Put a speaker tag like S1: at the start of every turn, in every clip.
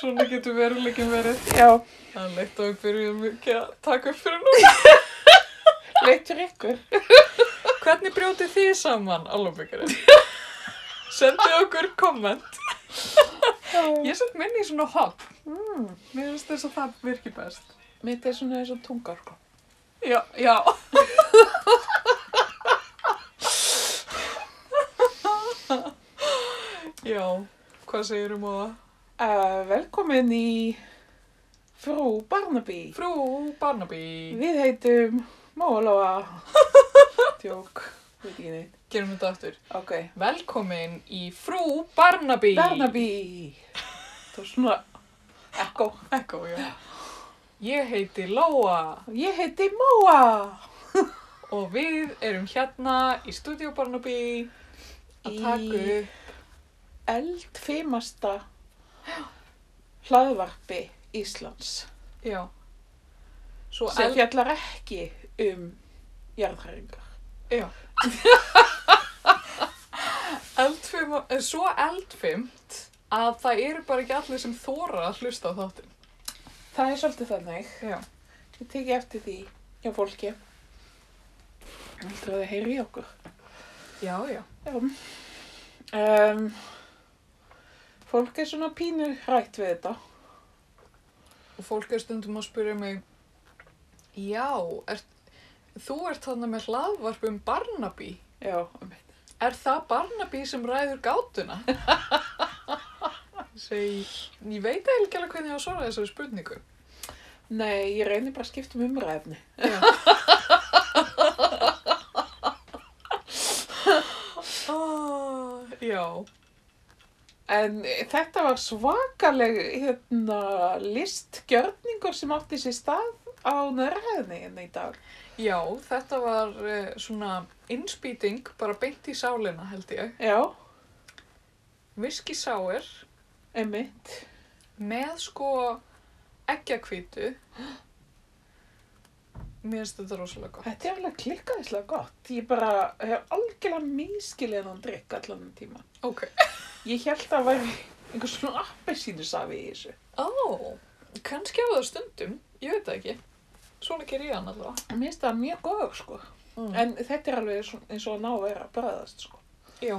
S1: Svona getur veruleikin verið.
S2: Já,
S1: Það er leitt að við byrjum ekki að taka upp fyrir núna.
S2: leitt fyrir ykkur.
S1: Hvernig brjótið þið saman álóbyggjarinn? Sendið okkur komment.
S2: Já.
S1: Ég send minni í svona hopp. Mér finnst þess að það virki best.
S2: Mitt er svona eins og tunga, sko.
S1: Já, já. já, hvað segir um á það?
S2: Uh, velkomin í Frú Barnaby.
S1: Frú Barnaby.
S2: Við heitum Mólóa. Tjók, veit ekki neitt.
S1: Gerum þetta aftur.
S2: Ok,
S1: Velkomin í Frú Barnaby.
S2: Barnaby. Það var svona ekko.
S1: Ekko, já. Ég heiti Lóa.
S2: Ég heiti Móa.
S1: Og við erum hérna í Studio Barnaby að
S2: Í-
S1: taka upp
S2: Eldfimasta hlaðvarpi Íslands.
S1: Já Svo
S2: sem
S1: eld
S2: fjallar ekki um jarðhæringar.
S1: Já Eldfim eh, Svo eldfimt að það eru bara ekki allir sem þóra að hlusta á þáttinn
S2: Það er svolítið þannig.
S1: Já
S2: Ég teki eftir því hjá fólki. Heldur að það heyri í okkur.
S1: Já, já
S2: Já. Um, fólk er svona pínu hrætt við þetta.
S1: Og fólk er stundum að spyrja mig Já, er, þú ert þarna með hlaðvarp um Barnaby
S2: Já, um eitt.
S1: Er það Barnaby sem ræður gátuna? Ég segi, ég veit eiginlega ekki alveg hvernig ég á að svara þessari spurningu.
S2: Nei, ég reynir bara að skipta um umræðni.
S1: Ah, já,
S2: En þetta var svakaleg hérna, listgjörningur sem átti sér stað á nöðræðinni hérna í dag.
S1: já, þetta var uh, svona innspýting, bara beint í sálina held ég.
S2: Já,
S1: Viski sáir
S2: einmitt.
S1: með sko eggjakvítu. Mér finnst þetta rosalega gott.
S2: Þetta er alveg klikkaðislega gott. Ég bara hef algjörlega mískilið hann drikk allan þennan tíma.
S1: Ok.
S2: Ég held að það væri einhver svona appelsínusafi í þessu.
S1: Ó, kannski á það stundum, ég veit það ekki. Svona ger ég hann allavega.
S2: Mér finnst það mjög góður sko.
S1: Mm.
S2: En þetta er alveg svo- eins og að ná að vera að bræðast sko.
S1: Já,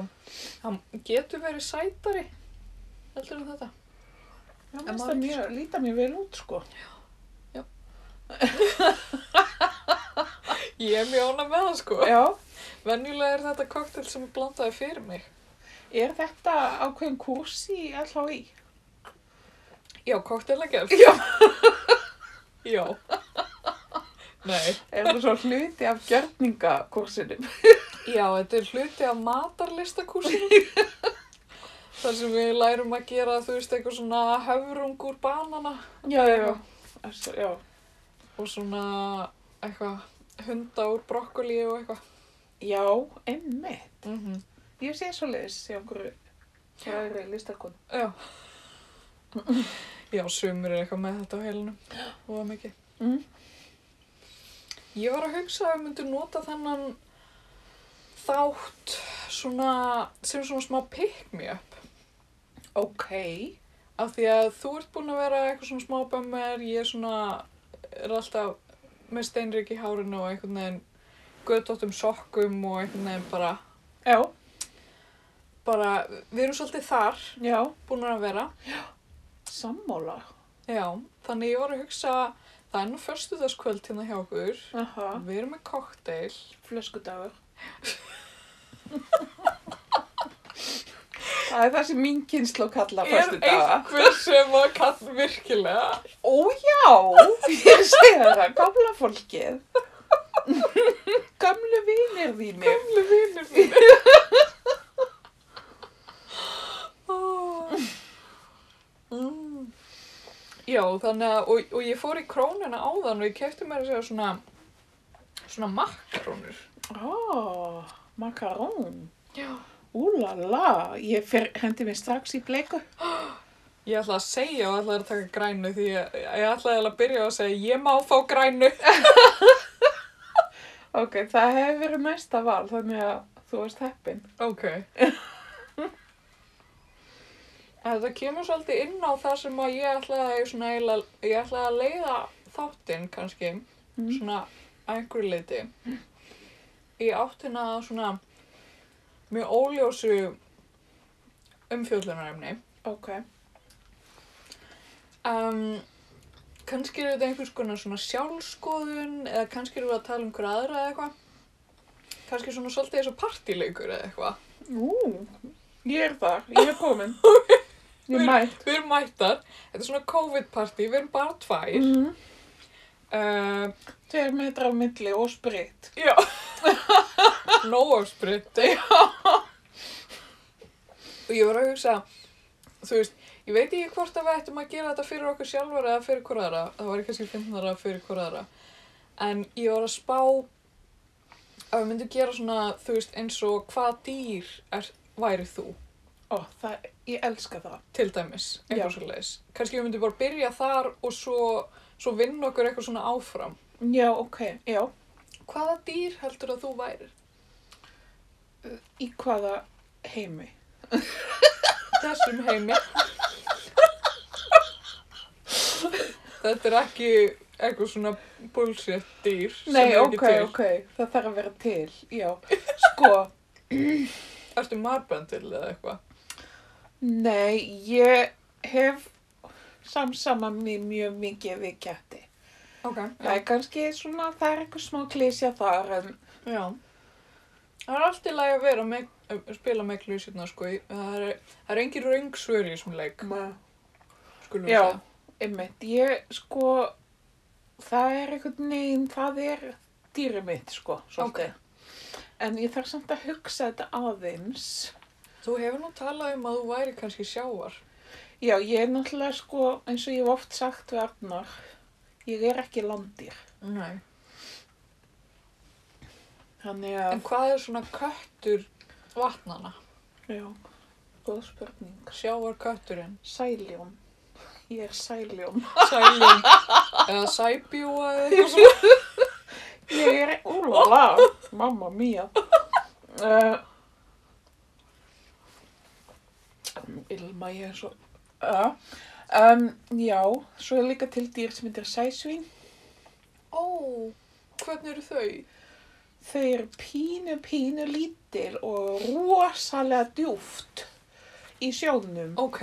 S1: hann getur verið sætari heldur en þetta.
S2: Já, mér
S1: En
S2: finnst
S1: maður-
S2: það mjög, líta mjög vel út sko.
S1: Ég er mjög ánað með það sko.
S2: Já,
S1: Venjulega er þetta koktel sem er blandaði fyrir mig.
S2: er þetta ákveðin kurs í LHI?
S1: Já, koktelagerð.
S2: Já.
S1: Já. Nei.
S2: Er það svo hluti af gjörningakursinum?
S1: Já, þetta er hluti af matarlistakúsinu. Þar sem við lærum að gera, þú veist, eitthvað svona höfrung úr banana
S2: Já, já, já. Þessu- Já,
S1: og svona eitthvað hunda úr brokkoli og eitthvað.
S2: já einmitt.
S1: Mm -hmm.
S2: Ég sé svo leiðis í einhverju fræðri listakon.
S1: Já. Já, sumur er eitthvað með þetta á heilinu. Og það mikið.
S2: Mm.
S1: Ég var að hugsa að við myndum nota þennan þátt svona, sem svona smá pick-me-up.
S2: Ok,
S1: Af því að þú ert búin að vera eitthvað svona smá bömmar, ég er svona, er alltaf með steinrik í hárinu og einhvern veginn göðdóttum sokkum og einhvern veginn bara,
S2: já,
S1: bara, við erum svolítið þar
S2: já,
S1: búin að vera.
S2: sammála.
S1: Já, þannig ég var að hugsa, það er nú förstuðaskvöld hérna hjá okkur,
S2: Aha,
S1: við erum með kokteil.
S2: flöskudagur. það er það sem mín kynslu kalla fyrstu daga.
S1: einhver sem að kalla virkilega?
S2: Ó já, ég sé það, gamla fólkið. Gamlu vinir þínir.
S1: Gamli vinur mínir. mm. Já, þannig að, og, og ég fór í krónuna áðan og ég kefti mér að segja svona, svona makkarónur.
S2: Ó, makarón.
S1: Já.
S2: Úlala, ég fer, hendi mér strax í bleiku.
S1: Ég ætla að segja og ætla að taka grænu því ég, ég ætla að byrja á að segja ég má fá grænu.
S2: Ok, það hefur verið næsta val, þannig að þú veist heppin.
S1: Ok. Þetta kemur svolítið inn á það sem að ég ætlaði, að- svona, eiginlega- ég ætlaði að leiða þáttinn kannski,
S2: Mm.
S1: svona að einhverju leiti. Í áttina að svona mjög óljósu umfjöllunarefni.
S2: Ok.
S1: Um, kannski eru þetta einhvers konar svona sjálfskoðun eða kannski eru við að tala um hverja aðra eða eitthvað. Kannski svona svolítið eins og partíleikur eða eitthvað.
S2: Ú, ég er það. Ég er komin. Ég er mætt.
S1: Við erum mættar, þetta er svona COVID-partí, við erum bara tvær. Eh, Mm.
S2: Mhm. Tveir metra á milli og spritt.
S1: já. Nóafspritti. Og ég var að hugsa, þú veist, ég veit ekki hvort að við ættum að gera þetta fyrir okkur sjálfur eða fyrir hver aðra. Það var kannski finnara fyrir hver aðra. En ég var að spá að við myndum gera svona, þú veist, eins og hvað dýr er, væri þú,
S2: Ó, það, ég elska það.
S1: til dæmis,
S2: Já.
S1: eitthvað svo leiðis. Kannski við myndum bara byrja þar og svo, svo vinna okkur eitthvað svona áfram.
S2: Já, ok, já.
S1: Hvaða dýr heldur að þú værir?
S2: Í hvaða heimi?
S1: þessum heimi Þetta er ekki eitthvað svona bullshit dýr sem
S2: Nei,
S1: er ekki
S2: ok, ok. Það þarf að vera til, já. Sko,
S1: Ertu marbendil eða eitthvað?
S2: nei, ég hef samsamað mér mjög mikið við ketti.
S1: Ok,
S2: Það er kannski svona, það er eitthvað smá klísja þar, en
S1: já Það er allt í lagi að vera með, að spila með klísirna sko í- það er, það er engin röngsvör í þessum leik skulum við
S2: Já.
S1: segja
S2: einmitt, ég, sko, það er eitthvað neginn, það er dýrið mitt, sko, svolítið. En ég þarf samt að hugsa þetta aðeins.
S1: Þú hefur nú talað um að þú væri kannski sjávar
S2: Já, ég er náttúrulega, sko, eins og ég hef oft sagt við Arnar, ég er ekki landýr.
S1: Nei
S2: Þannig að,
S1: En hvað er svona köttur vatnana?
S2: já, góð spurning.
S1: Sjávar kötturinn
S2: Sæljón. Ég er sæljón.
S1: Sælum Eða sæbjúa eða eitthvað svona
S2: Ég er, úlala, mamma mía. Uh, ilma, ég er svo, uh, um, já, svo er líka til dýr sem heitir sæsvín.
S1: Ó, hvernig eru þau?
S2: Þau eru pínu, pínu lítil og rosalega djúft í sjónum.
S1: Ok.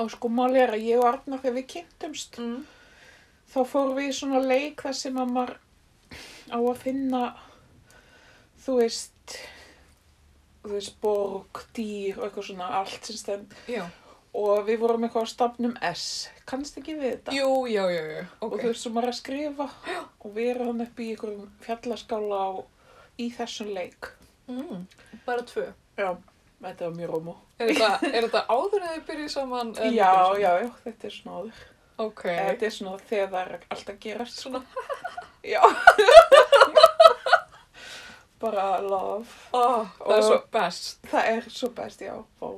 S2: Og sko mál er að ég og Arnar þegar við kynntumst,
S1: Mm.
S2: þá fórum við í svona leik þar sem að maður á að finna, þú veist, þú veist, borg, dýr og eitthvað svona allt sem stend.
S1: Já.
S2: Og við vorum eitthvað á stafnum S, kannst ekki við þetta?
S1: Jú, já, já, já.
S2: Og
S1: Ok.
S2: þú veist, sem maður er að skrifa og við erum hann upp í einhverjum fjallaskála á, í þessum leik.
S1: Mm. Bara tvö.
S2: Já, þetta var mjög rómó.
S1: Er þetta, er þetta áður að þið byrjið saman?
S2: Já,
S1: eða nýbyrjuð
S2: já, já, þetta er svona áður.
S1: saman? Ok.
S2: Eða, Þetta er svona þegar það er allt að gerast. sko.
S1: Svona,
S2: Já. Bara love.
S1: oh, það er
S2: Og-
S1: svo best.
S2: Það er svo best, já. Ó.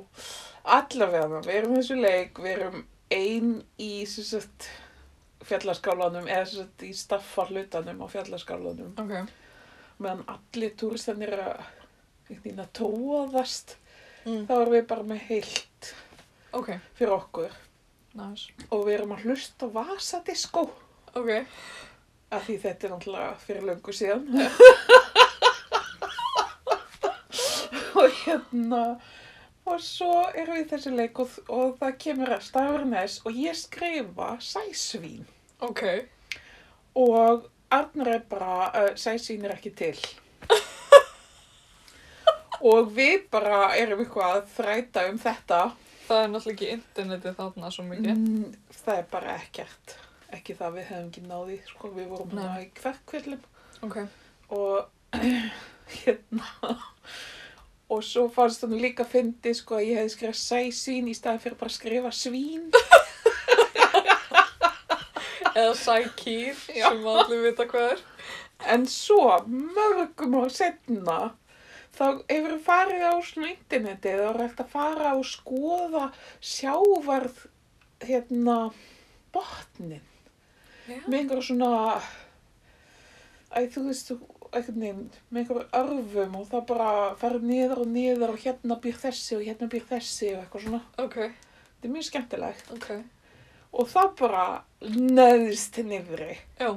S2: Allavega, við erum í þessu leik, við erum ein í sem sagt, fjallaskálanum eða sem sagt, í staffarlutanum á fjallaskálanum
S1: Ok.
S2: meðan allir túristannir eru að einhvern veginn að tróðast
S1: Mm.
S2: þá erum við bara með heilt
S1: Ok,
S2: fyrir okkur
S1: nice.
S2: og við erum að hlusta á vasadiskó
S1: Ok.
S2: af því þetta er náttúrulega fyrir löngu síðan og hérna og svo erum við í þessu leik og, og það kemur að stafurinn þess og ég skrifa sæsvín
S1: Ok.
S2: og Arnar er bara uh, sæsvín er ekki til og við bara erum eitthvað að þræta um þetta
S1: Það er náttúrulega ekki internetið þarna svo mikið.
S2: Mm, það er bara ekkert ekki það við hefum ekki náði sko, við vorum
S1: Nei.
S2: hérna í hverkvillum
S1: Ok.
S2: og hérna og svo fannst hún líka fyndi sko að ég hefði skrifað sæsvín í staðan fyrir bara að skrifa svín
S1: Eða sækýr
S2: Já.
S1: sem allir vita hvað er.
S2: en svo mörgum ára setna þá hefur farið á svona internetið og er hægt að fara og skoða sjávarð hérna botnin
S1: Já.
S2: með einhverja svona æ þú veist þú einhvern veginn með einhverjum örfum og það bara fer niður og niður og hérna býr þessi og hérna býr þessi og eitthvað svona.
S1: Ok,
S2: Þetta er mjög skemmtilegt.
S1: ok.
S2: Og það bara neðst niðri.
S1: Já,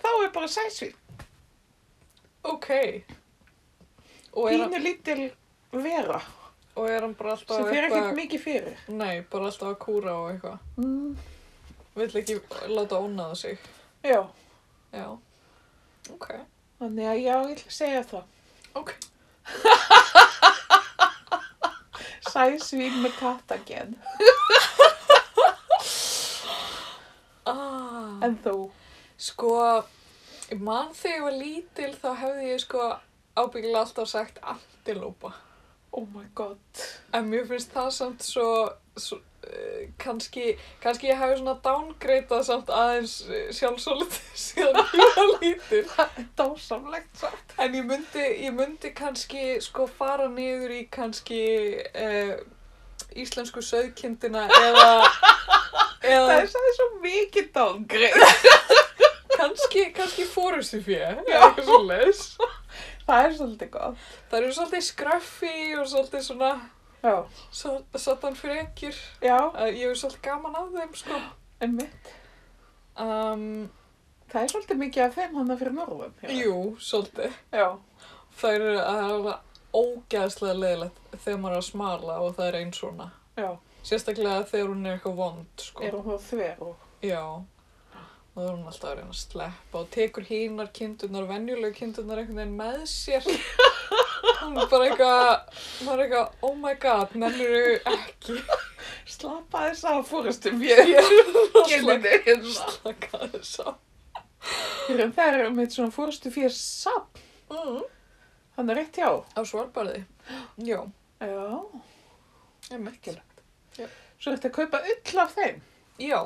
S2: Þá er bara sæsvín.
S1: ok. Og er, hann,
S2: Pínu lítil vera
S1: og er hann bara alltaf
S2: sem fer ekkert mikið fyrir.
S1: Nei, bara alltaf að kúra og eitthvað.
S2: Mm.
S1: Vill ekki láta ónaða sig.
S2: Já,
S1: Já. Ok.
S2: þannig að já, ég ætla að segja það.
S1: Ok.
S2: Sæsvín með kattagen.
S1: Ah.
S2: En þú?
S1: Sko, ég man þegar ég var lítil þá hefði ég sko ábyggilega alltaf sagt antilópa.
S2: Oh my god.
S1: En mér finnst það samt svo, svo uh, kannski, kannski ég hefði svona downgreitað samt aðeins eh, sjálfsólit síðan ég var lítil.
S2: Dásamlegt svo.
S1: En ég myndi, ég myndi kannski sko fara niður í kannski uh, íslensku söðkindina eða,
S2: Það
S1: eða
S2: er sæði svo mikið dángrið.
S1: kannski, kannski fórustu fyrir,
S2: Já.
S1: eða eitthvað svo leis.
S2: Það er svolítið gott.
S1: Það eru svolítið skraffi og svolítið svona
S2: Já.
S1: svo- satan frekjur.
S2: Já,
S1: Uh, ég hef svolítið gaman af þeim sko.
S2: en
S1: Um,
S2: Það er svolítið mikið af þeim hann fyrir norðan. já.
S1: jú, svolítið.
S2: Já.
S1: Það eru það er alveg ógæðslega leðilegt þegar maður er að smala og það er einn svona.
S2: Já.
S1: Sérstaklega þegar hún er eitthvað vond sko.
S2: Er hún þá þver og...
S1: Já. Og það er hún alltaf að reyna að sleppa og tekur hínar kindurnar, venjulegu kindurnar einhvern veginn með sér. hún er bara eitthvað, maður er eitthvað, oh my god, nennir ekki.
S2: Slappa þess að fóristum ég. Gillinni hérna.
S1: Slaka þess á.
S2: Það er með svona fóristu fyrir sapp.
S1: Mm.
S2: Hann er rétt hjá.
S1: Á svarbarði. Já,
S2: Já.
S1: ég merkil.
S2: Svo ertu að kaupa ull af þeim.
S1: Já,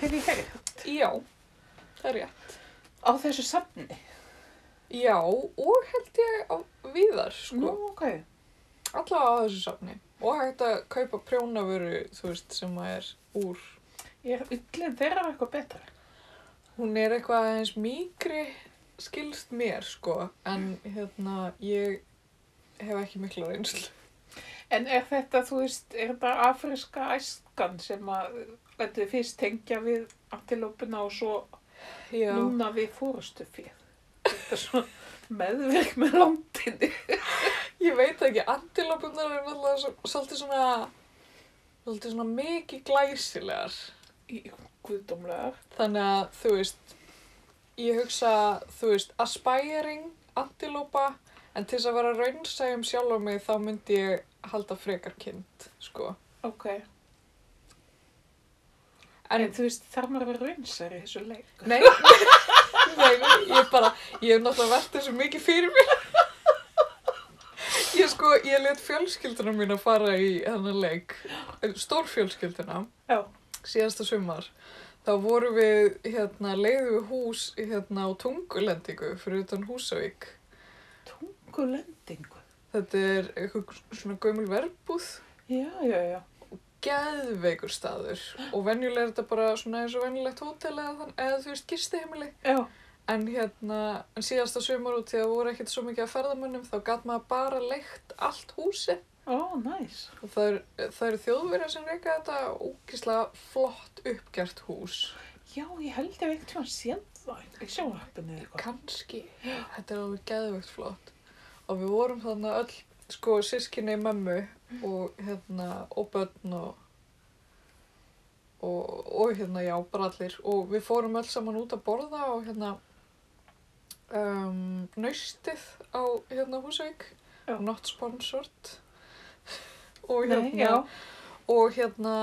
S2: Hef ég heyrt.
S1: já, það er rétt.
S2: Á þessu safni.
S1: Já, og held ég á viðar, sko.
S2: Nú, ok.
S1: Allavega á þessu safni. Og hægt að kaupa prjónavöru, þú veist, sem að er úr.
S2: Er ullin þeirra eitthvað betra?
S1: Hún er eitthvað aðeins mýkri skilst mér, sko. En hérna, ég hef ekki mikla reynslu.
S2: En er þetta, þú veist, er þetta afriska æskan sem að þetta fyrst tengja við antilópina og svo
S1: Já,
S2: núna við fórustu fyrir? Þetta er svona meðvirk með landinni.
S1: ég veit ekki, antilópunar eru náttúrulega svo- svolítið svona, svolítið svona mikið glæsilegar.
S2: Í guðdómlegar.
S1: Þannig að, þú veist, ég hugsa, þú veist, aspiring, antilópa, en til þess að vera raunsæg um sjálf og mig þá myndi ég halda frekar kind, sko.
S2: Ok. En,
S1: En,
S2: þú veist, þarf maður að vera raunsar í þessu leik.
S1: nei, nei, nei, ég bara, ég hef náttúrulega velt þessu mikið fyrir mér. Ég sko, ég let fjölskylduna mín að fara í hennar leik, eh, stórfjölskylduna,
S2: Já.
S1: síðasta sumar. Þá vorum við, hérna, leiðum við hús, hérna, á tungulendingu fyrir utan Húsavík.
S2: Tungulendingu.
S1: Þetta er eitthvað svona gömul verbúð,
S2: Já, já, já.
S1: geðveikur staður og venjulega er þetta bara svona eins og venjulegt hótel eða, þann, eða þú veist gistiheimili.
S2: Já.
S1: En hérna, en síðasta sumar út því að voru ekkert svo mikið að ferðamönnum þá gat maður bara leikt allt húsið.
S2: Ó, næs.
S1: Og það eru er þjóðverja sem reyka þetta ógislega flott uppgjart hús.
S2: Já, ég held ég veit hvað séð það. Ég sjá heppinu eða eitthvað.
S1: Kanski, þetta er alveg geðveikt flott. Og við vorum þarna öll, sko, sískinni mömmu og hérna, og börn og, og, og hérna, já, bara allir. Og við fórum öll saman út að borða og hérna, um, naustið á, hérna, Húsavík.
S2: Já.
S1: Not sponsored. Og
S2: Nei, já.
S1: hérna, og hérna,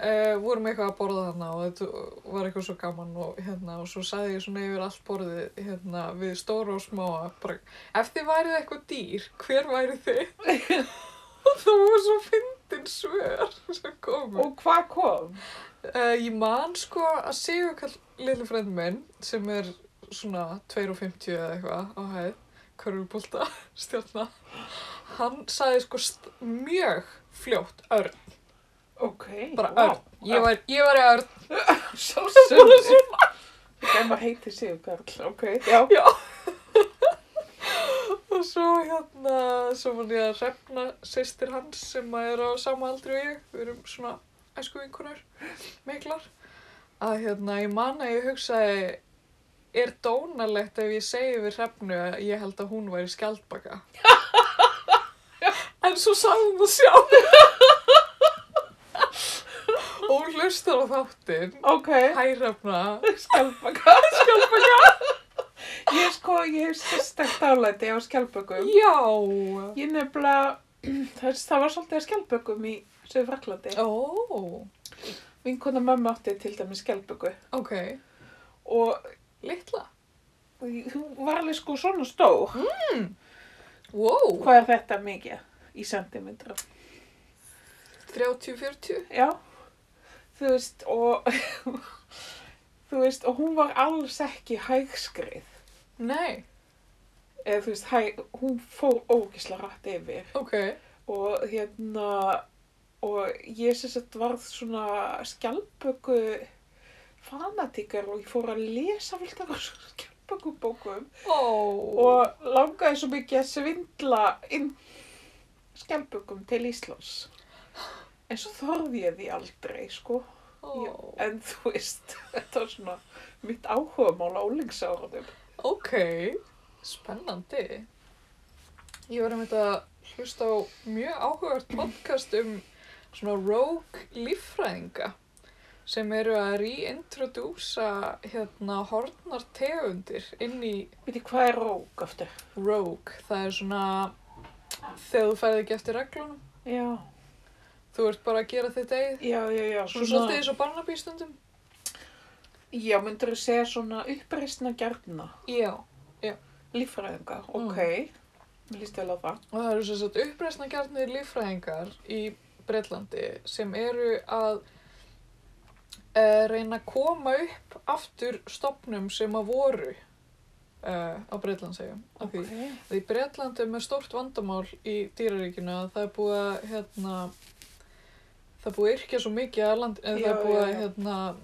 S1: uh, vorum eitthvað að borða þarna og þetta var eitthvað svo gaman og hérna, og svo sagði ég svona yfir allt borðið, hérna, við stóra og smáa, bara, ef þið værið eitthvað dýr, hver væri þið? og það voru svo fyndin svör sem komu.
S2: Og hvað kom?
S1: Uh, ég man sko að Sigur kall lillu frend minn, sem er svona 2.50 eða eitthvað á hæð, körfubólta, stjórna, hann sagði sko st- mjög fljótt örn
S2: Ok.
S1: bara
S2: vá.
S1: Örn, ég var, ég var í Örn
S2: Sjálfsögðu. Þegar maður heitir Sigur Karl, ok, já.
S1: Já. og svo hérna, svo var ég að refna sýstir hans sem að er á sama aldri og ég, við erum svona æsku vinkunar, miklar, að hérna, ég man að ég hugsaði, er dónalegt ef ég segi við hrefnu að ég held að hún væri skjaldbaka? en svo sagði hún það sjálf. og hún hlustar á þáttinn,
S2: Ok,
S1: hæ hrefna,
S2: skjálpaka.
S1: skjaldbaka.
S2: Ég sko, ég hef sérstakt álæti á skjálpökum.
S1: Já.
S2: Ég nefnilega, þess, það var svolítið að skjálpökum í sögur Fraklandi.
S1: Ó,
S2: Vinkona mamma átti til dæmis skjálpöku
S1: ok.
S2: og
S1: Litla.
S2: hún var alveg sko svona stór.
S1: Wow.
S2: Hvað er þetta mikið í sentimetra?
S1: 30-40.
S2: Já, þú veist og þú veist og hún var alls ekki hægskrið
S1: Nei,
S2: eða þú veist, hæ, hún fór ógisla rætt yfir
S1: ok.
S2: og hérna og ég sem sagt varð svona skjálpöku fanatíkar og ég fór að lesa fullt af skjálpöku bókum
S1: Ó.
S2: og langaði svo mikið að svindla inn skjálpökum til Íslands en svo þorði ég því aldrei sko Já,
S1: Ó.
S2: en þú veist, þetta var svona mitt áhugamál á úlingsárunum.
S1: Ok. Spennandi. Ég var einmitt að hlusta á mjög áhugart podcast um svona rogue líffræðinga sem eru að reintrodúsa hérna hornar tegundir inn í
S2: Viti, hvað er rók aftur?
S1: rogue. Það er svona þegar þú færði ekki eftir reglunum.
S2: Já,
S1: Þú ert bara að gera þitt eigið.
S2: já, já, já,
S1: Svona svolítið eins og Barnaby stundum.
S2: Já, myndur þú segja svona uppreistna gjarna,
S1: Já.
S2: líffræðinga,
S1: Mm.
S2: ok, mér líst vel á það.
S1: Og það eru sem sagt uppreisnagjarnir líffræðingar í Breitlandi sem eru að e, reyna að koma upp aftur stopnum sem að voru e, á Breitlandsegjum.
S2: Ok,
S1: Okay. Því Breitland er með stórt vandamál í dýraríkinu að það er búið að hérna, það er búið að yrkja svo mikið að land, eða
S2: Já,
S1: það er búið
S2: já,
S1: að
S2: já.
S1: hérna,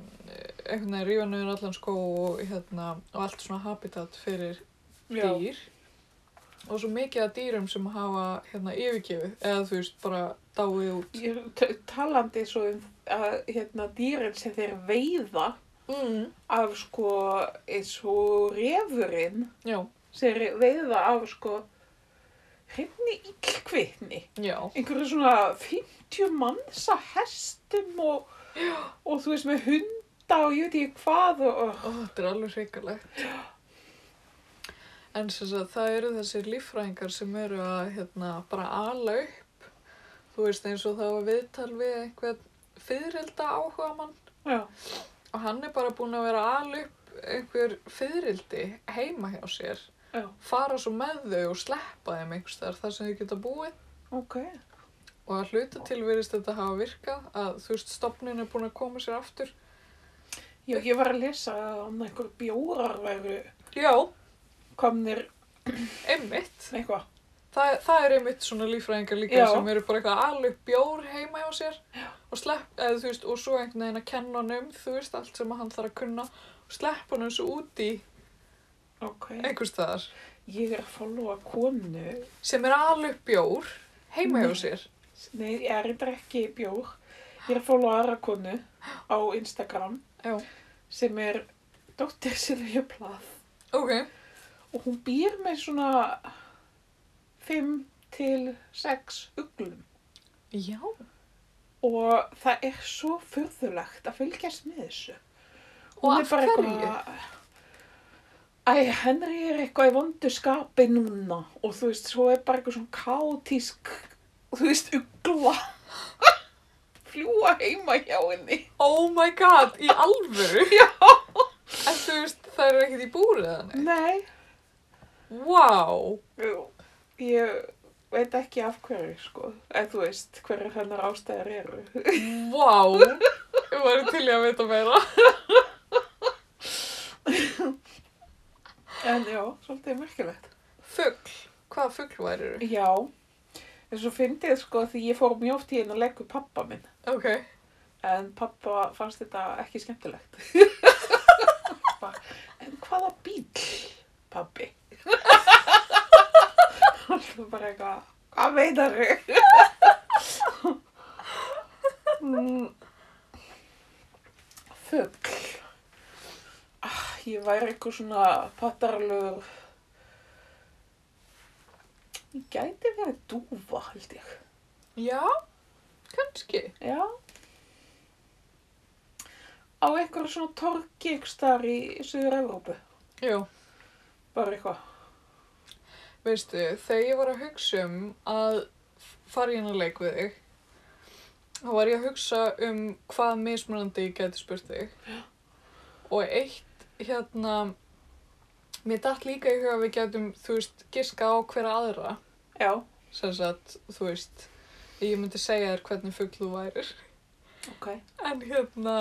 S1: einhvern veginn rífa niður allan skó og, hérna, og allt svona habitat fyrir
S2: já,
S1: dýr og svo mikið af dýrum sem hafa hérna yfirgefið eða þú veist bara dáið út
S2: ég er t- talandi svo um að hérna dýrin sem þeir veiða
S1: mm.
S2: af sko eins og refurinn
S1: já,
S2: sem þeir veiða af sko hreinni illkvittni.
S1: já,
S2: einhverju svona 50 manns að hestum og, og þú veist með hunda og ég veit ekki hvað og, og
S1: Ó, þetta er alveg hrikalegt en sem sagt það eru þessir líffræðingar sem eru að hérna bara ala upp þú veist eins og það var viðtal við einhvern fyririlda áhuga mann
S2: já,
S1: og hann er bara búinn að vera að ala upp einhver fyririldi heima hjá sér
S2: já,
S1: fara svo með þau og sleppa þeim einhvers þar þar sem þau geta búið
S2: ok,
S1: Og að hluta til verðist þetta hafa virkað að þú veist stopnin er búin að koma sér aftur.
S2: já, ég var að lesa um að hann einhverju bjórar væru
S1: Já,
S2: komnir
S1: einmitt.
S2: eitthvað,
S1: Það, það er einmitt svona lífræðingar líka
S2: Já.
S1: sem eru bara eitthvað alveg bjór heima hjá sér og slepp, eða þú veist, og svo einhvern veginn að kenna hann um, þú veist, allt sem hann þarf að kunna og slepp hann svo út í
S2: ok
S1: einhvers staðar
S2: ég er að followa konu
S1: sem er alveg bjór heima hjá
S2: Nei.
S1: sér.
S2: nei, ég er eitthvað ekki bjór ég er að followa aðra konu á Instagram
S1: Já,
S2: sem er dóttir Silvja Plað
S1: ok,
S2: og hún býr með svona 5 til 6 uglum
S1: já,
S2: og það er svo furðulegt að fylgjast með þessu.
S1: og
S2: Hún er
S1: af
S2: bara
S1: hverju?
S2: Æ, Henry er eitthvað í vondu skapi núna og þú veist, svo er bara eitthvað svona kátísk, þú veist, ugla fljúa heima hjá henni.
S1: Oh my god, í alvöru? Já. En þú veist, það eru ekkert í búrið þannig?
S2: Nei,
S1: Vá.
S2: ég veit ekki af hverju, sko, en þú veist, hverju hennar ástæðar eru.
S1: Vá, ég var til í að vita meira.
S2: En já, svolítið merkilegt.
S1: Fugl, hvaða fugl væri þú?
S2: Já, en svo fyndið sko því ég fór mjög oft í einu að leggu pappa minn.
S1: Ok,
S2: En pappa fannst þetta ekki skemmtilegt. Bara, en hvaða bíl, pappi? alltaf bara eitthvað, hvað meinar þau?
S1: Mm,
S2: Fugl. Ah, Ég væri eitthvað svona pattaralögur. Ég gæti verið dúfa, held ég.
S1: Já, kannski.
S2: Já. Á einhverju svona torgi ykkur staðar í Suður-Evrópu.
S1: Jú,
S2: Bara eitthvað.
S1: veistu, þegar ég var að hugsa um að fara í hennar leik við þig, þá var ég að hugsa um hvað mismunandi ég gæti spurt þig. Og eitt, hérna, mér datt líka í huga að við gætum, þú veist, giska á hverja aðra.
S2: Já,
S1: Sem sagt, þú veist, ég myndi segja þér hvernig fugl þú værir.
S2: ok.
S1: En hérna,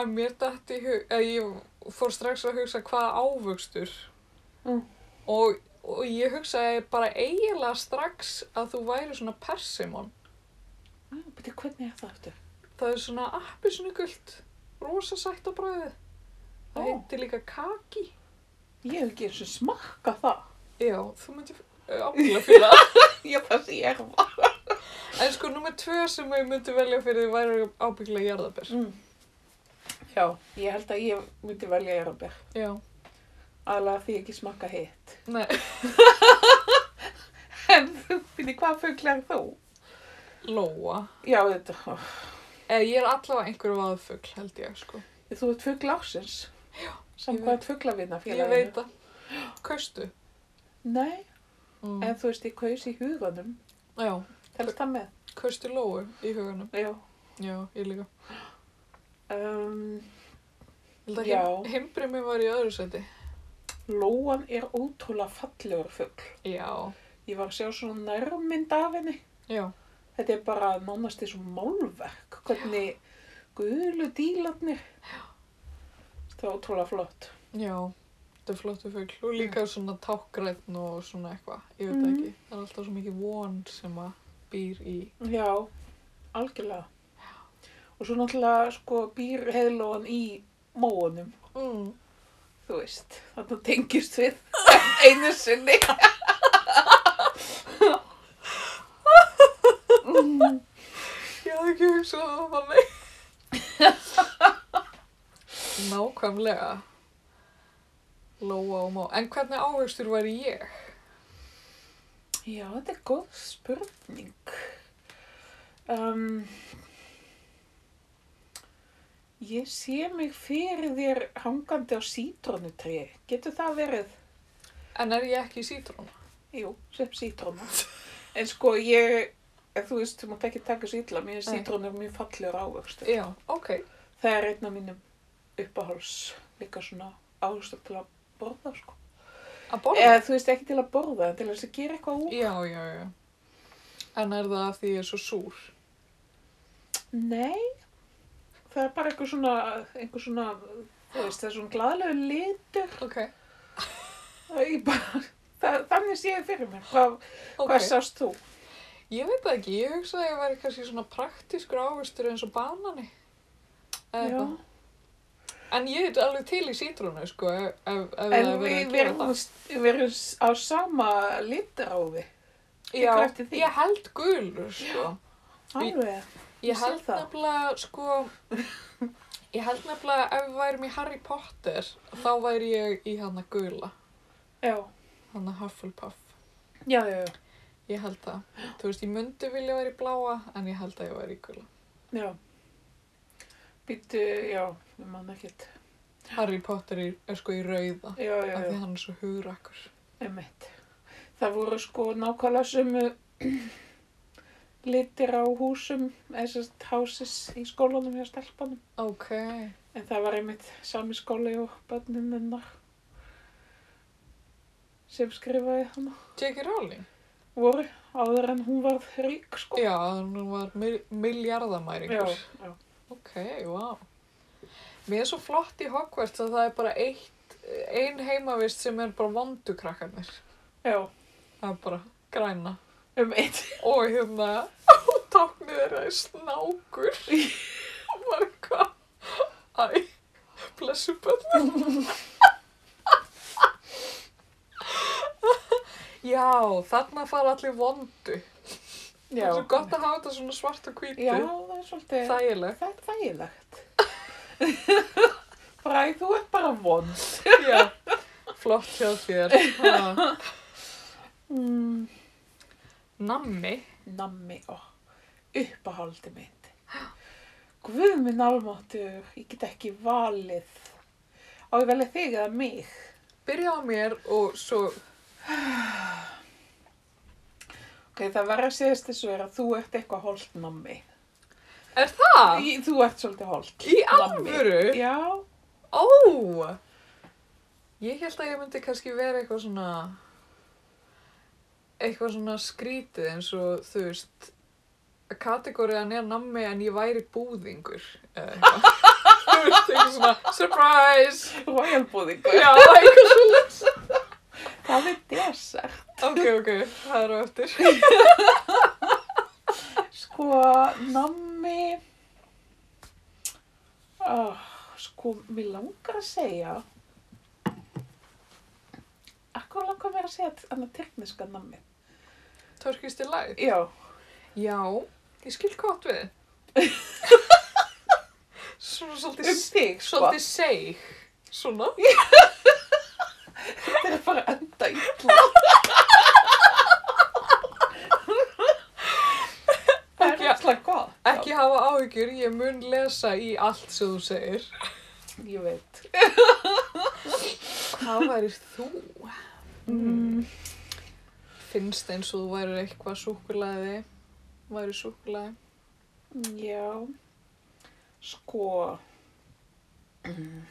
S1: en mér datt í hug, eða ég fór strax að hugsa hvað ávöxtur.
S2: Mm.
S1: Og, og ég hugsaði bara eiginlega strax að þú væri svona persimon.
S2: Beti, hvernig er það eftir?
S1: Það er svona appisnugult, rosa sætt á bræðið. Það
S2: Ó.
S1: heitir líka kaki.
S2: Ég hef ekki eins og smakka það.
S1: Já, þú myndir ábyggilega fyrir það.
S2: Já, það sé ég var.
S1: En sko, nummer tvö sem ég myndi velja fyrir því væri ábyggilega jarðabær.
S2: Mm. Já, ég held að ég myndi velja jarðabær.
S1: Já,
S2: Aðlega því ég ekki smakka hitt.
S1: nei.
S2: En þú finnir hvað fuglar þú?
S1: Lóa.
S2: Já, þetta. oh,
S1: Eða ég er allavega einhver vaðfugl, held ég, sko.
S2: Þú ert fugl ásins. Já.
S1: ég
S2: Samkvæmt fuglavinna
S1: Ég
S2: félaginu.
S1: veit það. Kaustu?
S2: Nei,
S1: Mm.
S2: en þú veist, ég kaus í huganum.
S1: Já,
S2: Telst það með?
S1: kaustu lóu í huganum.
S2: Já.
S1: Já, ég líka.
S2: Um,
S1: Ég held að
S2: Já.
S1: heim, heimbrimi var í öðru seti.
S2: Lóan er ótrúlega fallegur fugl.
S1: Já,
S2: Ég var að sjá svona nærmynd af henni.
S1: já,
S2: Þetta er bara nánast eins og málverk, hvernig guðlu dílarnir. Það er ótrúlega flott.
S1: já. Þetta er flottu fugl og líka svona tákgræn og svona eitthvað, ég veit
S2: Mhm.
S1: ekki. Það er alltaf svo mikið von sem að býr í.
S2: Já, algjörlega. Og svo náttúrulega sko býr heiðlóan í móunum,
S1: Mm.
S2: þú veist. Þannig tengist við einu sinni. Mm,
S1: Ég hafði ekki hugsað að það var mig. Nákvæmlega. Lóa og má. En hvernig ávegstur væri ég?
S2: Já, þetta er góð spurning. Um, ég sé mig fyrir þér hangandi á sítrónutri. Getur það verið?
S1: En er ég ekki í sítrón?
S2: Jú, sem sítróna. En sko, ég, ef þú veist, þú mátt ekki taka sítla. Mér
S1: Nei.
S2: sítróna er mjög fallegur ávöxtur.
S1: Já, ok.
S2: Það er einn af mínum uppáhals líka svona ávöxtur til að borða, sko.
S1: Að borða?
S2: Eða þú veist, ekki til að borða, en til þess að gera eitthvað úr.
S1: Já, já, já. En er það af því ég er svo súr?
S2: Nei, það er bara einhver svona, einhver svona, þú veist, það er svona glaðlegu litur.
S1: Ok,
S2: Það er bara, það, þannig sé ég fyrir mér. Hvað,
S1: ok.
S2: hvað sást þú?
S1: Ég veit það ekki, ég hugsaði að ég væri kannski svona praktískur ávistur eins og banani. Eða eitthvað. En ég er alveg til í sítrónu, sko, ef, ef ef
S2: En
S1: það er verið
S2: við
S1: að gera
S2: verum, við verum á sama litráfi.
S1: Já,
S2: tekur eftir því.
S1: ég held gulur, sko.
S2: Alveg.
S1: Ég
S2: sé
S1: held
S2: það.
S1: nefnilega, sko, ég held nefnilega ef við værum í Harry Potter, þá væri ég í hana gula,
S2: Já,
S1: hana Hufflepuff.
S2: já, já, já.
S1: Ég held það. Þú veist, ég myndi vilja vera í bláa, en ég held að ég væri í gula.
S2: já. Býttu, já, við mann ekkert.
S1: Harry Potter er, er sko í rauða,
S2: Já, já,
S1: af
S2: já.
S1: því hann er svo hugrakkur.
S2: Emmett. Það voru sko nákvæmlega sömu litir á húsum, þessast hásis í skólanum hjá stelpunum.
S1: Ok,
S2: En það var einmitt sami skóli og börnin hennar sem skrifaði hana.
S1: J.K. Rowling.
S2: Voru áður en hún varð rík sko.
S1: Já, hann var mil miljardamæringur.
S2: já.
S1: Ok, wow. Mér er svo flott í Hogwarts að það er bara eitt, ein heimavist sem er bara vondukrakkarnir.
S2: Já,
S1: Það er bara græna.
S2: um eitt.
S1: Og hérna, og táknið þeirra er snákur. Og bara eitthvað, æ, blessu börnum. Já, Já, þarna fara allir vondu. Það
S2: Já,
S1: er svo gott að hafa þetta svona svart og hvítu.
S2: já það er svolítið,
S1: Þægilegt.
S2: það er þægilegt. Bræð, þú ert bara vond.
S1: Já. Flott hjá þér. Ha.
S2: Mm.
S1: Nammi.
S2: nammi og uppahaldi mitt. Guð minn almáttur, ég get ekki valið. Á ég velið þig eða mig?
S1: Byrja á mér og svo,
S2: Ok, það verður að segjast þessu er að þú ert eitthvað holt nammi.
S1: er það?
S2: Í- Þú ert svolítið holt.
S1: Í
S2: nammi.
S1: alvöru?
S2: Já,
S1: Ó! Ég held að ég myndi kannski vera eitthvað svona, eitthvað svona skrítið eins og þú veist, kategóriðan er nammi en ég væri búðingur. eða eitthvað. Þú veist, eitthvað svona, surprise!
S2: royal búðingur.
S1: Já, eitthvað svona.
S2: Það er desert.
S1: Ok, ok, það er á eftir.
S2: Sko, nammi... Oh, sko, mér langar að segja... Akkur langar mér að segja annað tekniska nammi.
S1: Törkist í læð.
S2: Já.
S1: Já, ég skil gott við. Svona svolítið,
S2: um þig, sko.
S1: svolítið seig. Svona.
S2: Þetta er bara að enda illa. Það er
S1: Ekki-
S2: alltaf gott.
S1: Ekki hafa áhyggjur, ég mun lesa í allt sem þú segir.
S2: Ég veit.
S1: Hvað værir þú? Mm. Finnst eins og þú værir eitthvað súkulaði. Væri súkulaði.
S2: Mm, Já. Sko. Mm.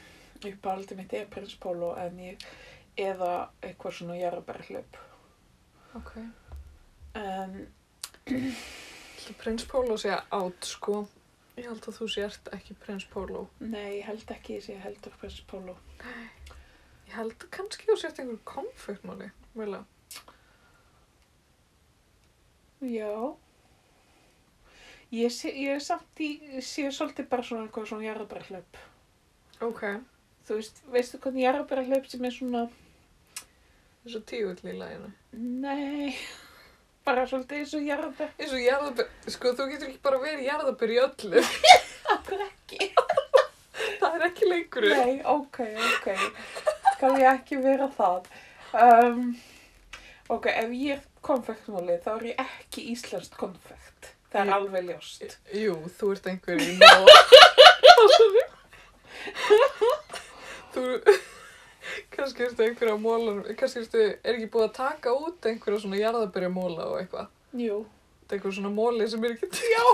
S2: Uppáhaldið mitt er prins Pólo en ég eða eitthvað svona jarðbærhlaup.
S1: Ok.
S2: En
S1: Þú prins Pólo sé átt, sko. Ég held að þú sért ekki prins Pólo.
S2: nei, ég held ekki þess að ég heldur prins Pólo.
S1: Ég held að kannski þú sért einhver komfektmáli. Mjögulega.
S2: Já. Ég sé, ég er samt í, ég sé svolítið bara svona eitthvað svona jarðbærhlaup.
S1: Ok.
S2: þú veist, veistu hvernig jarðbærahlaup sem er svona,
S1: Þessu tígull í læginu.
S2: nei, bara svolítið eins og jarðbær,
S1: Eins og jarðabur, sko þú getur ekki bara verið jarðabur í öllu.
S2: akkur ekki.
S1: Það er ekki leikurinn.
S2: Nei, ok, ok, skal ég ekki vera það. Um, ok, ef ég er konfektmáli þá er ég ekki íslenskt konfekt, það er
S1: Ég-
S2: alveg ljóst.
S1: Jú, þú ert einhver í nóg. þú, kannski ertu einhverja mólar, kannski ertu, er ekki búið að taka út einhverja svona jarðabyrja móla og eitthvað.
S2: Jú.
S1: Þetta er einhver svona móli sem er ekki til.
S2: Já.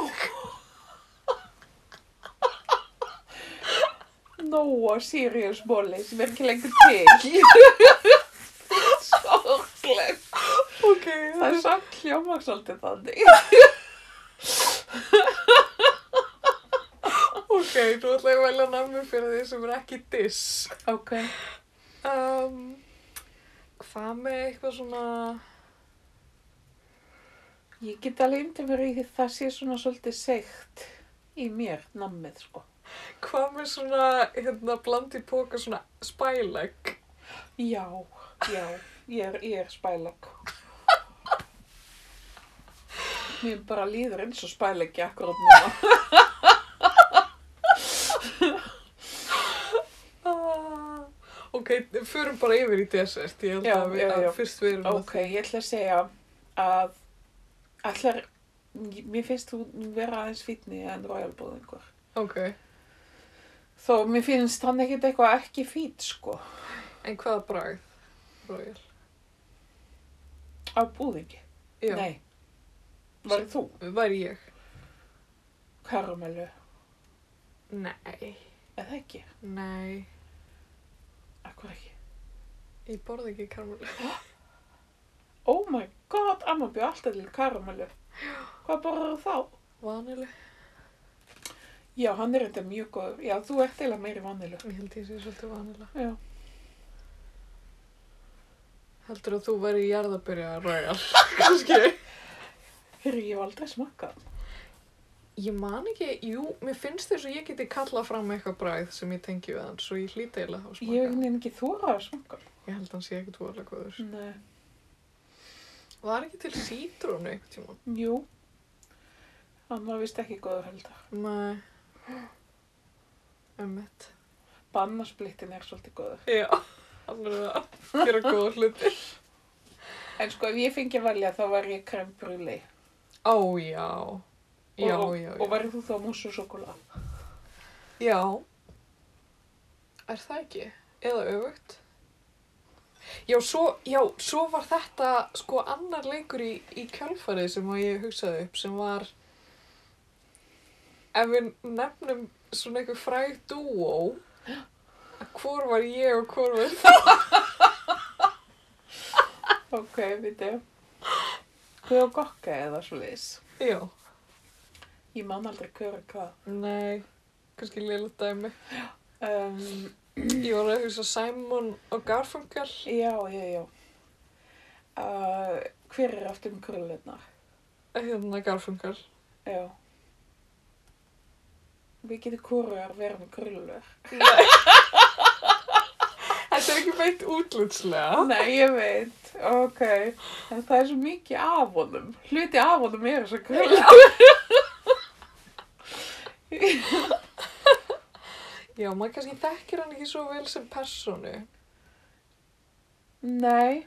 S2: Nóa Sirius móli sem er ekki lengur til. Sorgleg.
S1: Ok,
S2: Það
S1: það
S2: er
S1: er
S2: samt hljómar svolítið þannig.
S1: ok, nú ætla ég að velja namni fyrir því sem er ekki diss.
S2: Ok.
S1: Um, hvað með eitthvað svona,
S2: Ég get alveg yndi mér í því það sé svona svolítið seikt í mér, nammið, sko.
S1: hvað með svona, hérna, bland í póka svona spælegg?
S2: Já, já, ég er, ég er spælag. Mér bara líður eins og spælagi akkurat núna.
S1: Ah, ok, förum bara yfir í desert. Ég held
S2: Já,
S1: að, við,
S2: já, já.
S1: að fyrst við erum
S2: Ok, ég ætla að segja að allar, mér finnst þú vera aðeins fítni en royalbúðingur.
S1: að... Ok,
S2: Þó, mér finnst hann ekkert eitthvað ekki fít, sko,
S1: en hvaða bragð? Royal.
S2: á búðingi.
S1: Já,
S2: Nei. Var þú?
S1: væri ég?
S2: Karamelu,
S1: Nei,
S2: eða ekki?
S1: nei,
S2: Akkur ekki?
S1: ég borði ekki karmölu.
S2: Oh my god, amma bjóð alltaf til karamellu. Hvað borðar þú þá?
S1: Vanilu,
S2: Já, hann er þetta mjög góður. Já, þú ert eiginlega meiri vanilu.
S1: ég held ég sé svolítið vanila.
S2: Já.
S1: Heldur að þú væri í jarðabyrja royal, kannski?
S2: Hérri, ég hef aldrei smakkað. hann.
S1: Ég man ekki, jú, mér finnst þess að ég geti kallað fram eitthvað bragð sem ég tengi við hann, svo ég hlýt eiginlega
S2: Ég hef
S1: að smaka.
S2: einhvern veginn ekki þórað að smakka. hann.
S1: Ég held að hann sé ekkert voðalega góður.
S2: Nei.
S1: Var ekki til sítrónu einhvern tíma?
S2: Jú. Hann var vist ekki góður heldur.
S1: Nei. Ömmett.
S2: Bannasplittin er svolítið góður.
S1: Já, hann er að gera góða hluti.
S2: En sko, ef ég fengi að velja þá var ég krem brúli.
S1: Ó, já. Já,
S2: og,
S1: já,
S2: Og
S1: já.
S2: væri þú þá mús og sjokola?
S1: Já. Er það ekki? Eða öfugt? Já, svo, já, svo var þetta sko annar leikur í, í kjálfarið sem að ég hugsaði upp sem var ef við nefnum svona einhver fræg dúó að hvor var ég og hvor var það
S2: Ok, veitu. Hvað og gokka eða svo leis?
S1: Já,
S2: Ég man aldrei hver og hvað.
S1: nei, kannski lélut dæmi
S2: Um,
S1: Ég var að hugsa Simon og Garfunkel
S2: já, já, já. Uh, hver er aftur um krullunar?
S1: hérna Garfunkel
S2: Já. Við getum kóruðar verið með krullur.
S1: Þetta er ekki beint útlitslega
S2: Nei, ég veit, ok. En það er svo mikið af honum. Hluti af honum er svo krull.
S1: Já, maður kannski þekkir hann ekki svo vel sem personu
S2: Nei.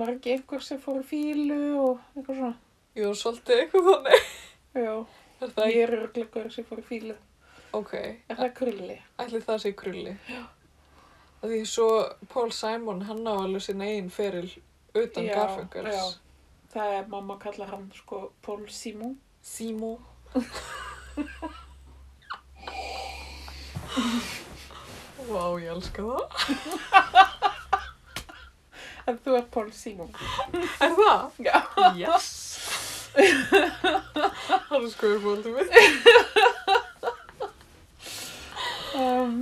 S2: Var ekki einhver sem fór í fílu og eitthvað svona.
S1: Jú, svolítið eitthvað þannig
S2: Já,
S1: Er
S2: ég
S1: það ekki?
S2: er örgleikur sem fór í fílu.
S1: Ok,
S2: Er það krulli?
S1: ætli það sé krulli Já Því svo Paul Simon, hann á alveg sinn eigin feril utan
S2: Já,
S1: Garfunkels
S2: já. Það er, mamma kallar hann sko Paul Simon.
S1: Simo Vá, ég elska það
S2: En þú ert Paul Simon.
S1: Er það?
S2: Já.
S1: Yes! Það er skoður fólkið mitt.
S2: Um,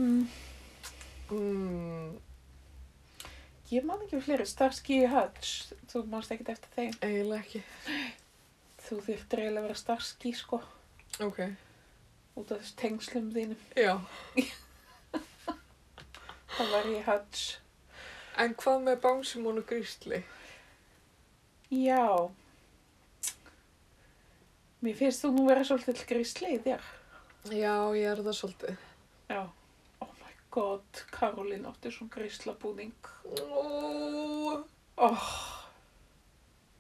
S1: Mm,
S2: ég man ekki um fleiri. Starsky Hutch. Þú manst ekkert eftir þeim.
S1: eiginlega ekki.
S2: Þú þurftir eiginlega að vera Starsky sko.
S1: Ok.
S2: Út af þess tengslum þínum.
S1: Já.
S2: Það var ég Hutch.
S1: En hvað með Bánsimón og Grísli?
S2: Já. Mér finnst þú nú vera svolítill grísli í þér.
S1: Já, ég er það svolítið.
S2: Já. Oh my god, Karolín átti svona gríslabúning.
S1: Ó,
S2: Oh,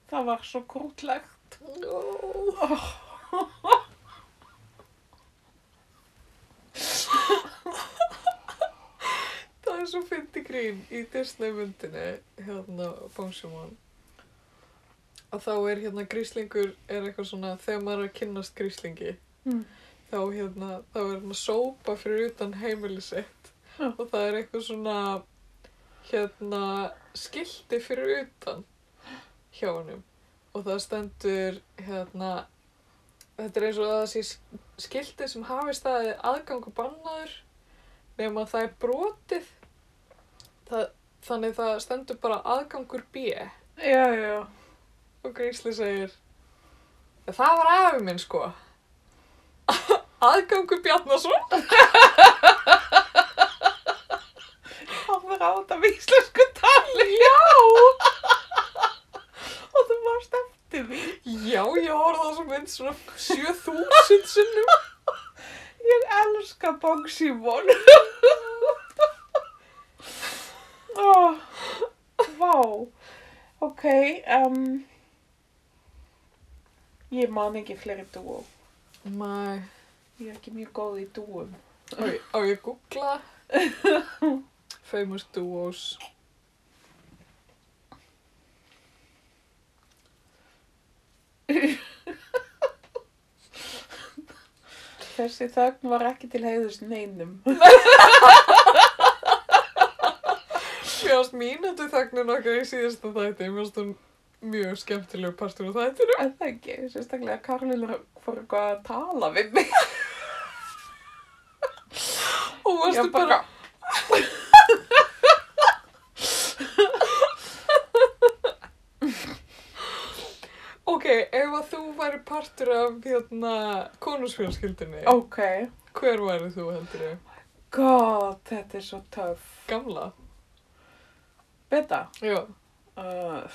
S2: það var svo grútlegt.
S1: ó. Það er svo fyndi grín í Disneymyndinni, hérna, Bánsimón. Að þá er hérna gríslingur, er eitthvað svona, þegar maður er að kynnast gríslingi,
S2: Mm.
S1: þá hérna, þá er hann að sópa fyrir utan heimili sitt
S2: Já.
S1: og það er eitthvað svona hérna skilti fyrir utan hjá honum og það stendur hérna þetta er eins og það sé skilti sem hafi staðið aðgangu bannaður nema það er brotið það, þannig það stendur bara aðgangur B
S2: Já, já.
S1: og Grísli segir það var afi minn sko aðgangur Bjarnason
S2: Það var á þetta með íslensku tali. Já. Og þú varst eftir því.
S1: Já, ég horfði á þessu mynd svona 7000 sinnum.
S2: Ég elska Bong Simon. oh, vá. Ok, um, ég man ekki fleiri dúo.
S1: Mæ,
S2: Ég er ekki mjög góð í dúum.
S1: á ég, á ég að googla? Famous duos.
S2: Þessi þögn var ekki til heiðus neinum.
S1: Mér ást mínútu þögnin okkar í síðasta þætti, mér ást hún mjög skemmtilegu partur á þættinu.
S2: En það ekki, sérstaklega Karolina fór eitthvað að tala við mig.
S1: Og varstu
S2: Ég
S1: bara, ok, ef að þú væri partur af hérna konusfjölskyldinni,
S2: Ok,
S1: hver væri þú heldur ég?
S2: god, þetta er svo töff.
S1: Gamla?
S2: Beta.
S1: Já.
S2: Uh,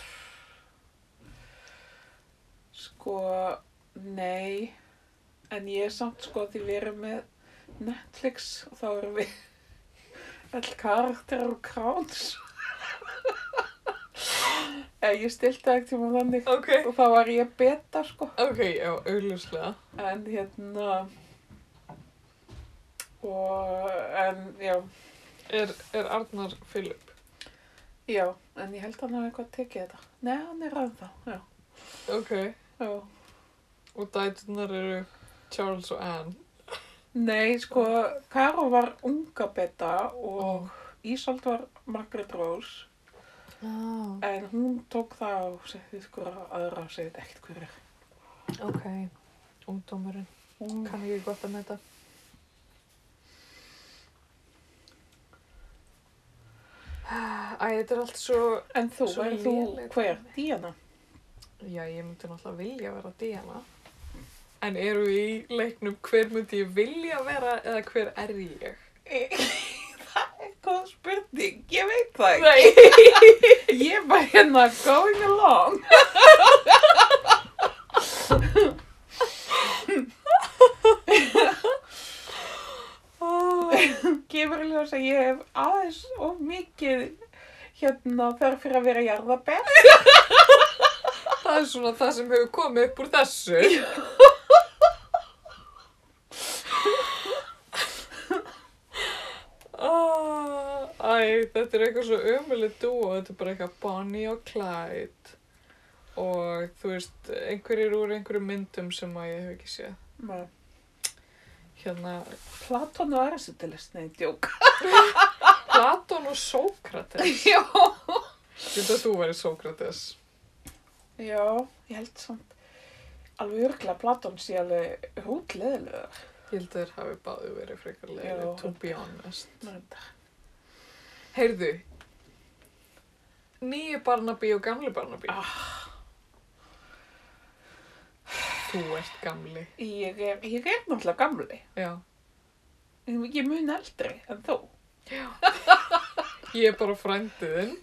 S2: Sko, nei, en ég er samt sko því við erum með Netflix og þá erum við all karakterar og kráns. Eða Eh, ég stilti það ekki tíma þannig
S1: Ok.
S2: og þá var ég beta sko.
S1: Ok, já, augljóslega.
S2: En hérna, og en já,
S1: Er, er Arnar Filip?
S2: já, en ég held að hann hafa eitthvað tekið þetta. Nei, hann er að þá, já,
S1: Ok.
S2: já.
S1: Og dætunar eru Charles og Anne.
S2: Nei, sko, Karó var unga beta og Ísald var Margaret Rose
S1: Ah,
S2: en hún tók það á segðið sko aðra og segðið ekkert hverjir.
S1: ok. Ungdómurinn.
S2: Hún,
S1: Kann ekki gott að metta. Ah, Æ, þetta er allt svo...
S2: en þú,
S1: Svo
S2: er þú
S1: léleg
S2: hver?
S1: dæmi.
S2: Díana?
S1: Já, ég myndi náttúrulega vilja vera Diana. En eru við í leiknum hver myndi ég vilja vera eða hver er ég?
S2: það er góð spurning, ég veit það ekki.
S1: Nei.
S2: Ég er bara hérna going along.
S1: Oh.
S2: Gefur í ljós að ég hef aðeins of mikið hérna þarf fyrir að vera jarðabett.
S1: Það er svona það sem hefur komið upp úr þessu. Ah, Æ, þetta er eitthvað svo ömuleg dúo, þetta er bara eitthvað Bonnie og Clyde og þú veist, einhverjir úr einhverjum myndum sem að ég hef ekki séð.
S2: Nei.
S1: Hérna,
S2: Platón og Aristoteles, nei, djók.
S1: Platon og Sókrates.
S2: Já.
S1: Þetta að þú væri Sókrates.
S2: Já, ég held samt alveg örglega Platón sé alveg hútleðilegur.
S1: Ég held að þér hafi báðu verið frekar leiðið,
S2: Já.
S1: to be honest.
S2: Nei,
S1: Heyrðu, nýju Barnaby og gamli Barnaby. Þú ert gamli.
S2: Ég er, ég er náttúrulega gamli.
S1: Já.
S2: En Ég mun eldri en þú.
S1: Ég er bara frændiðinn.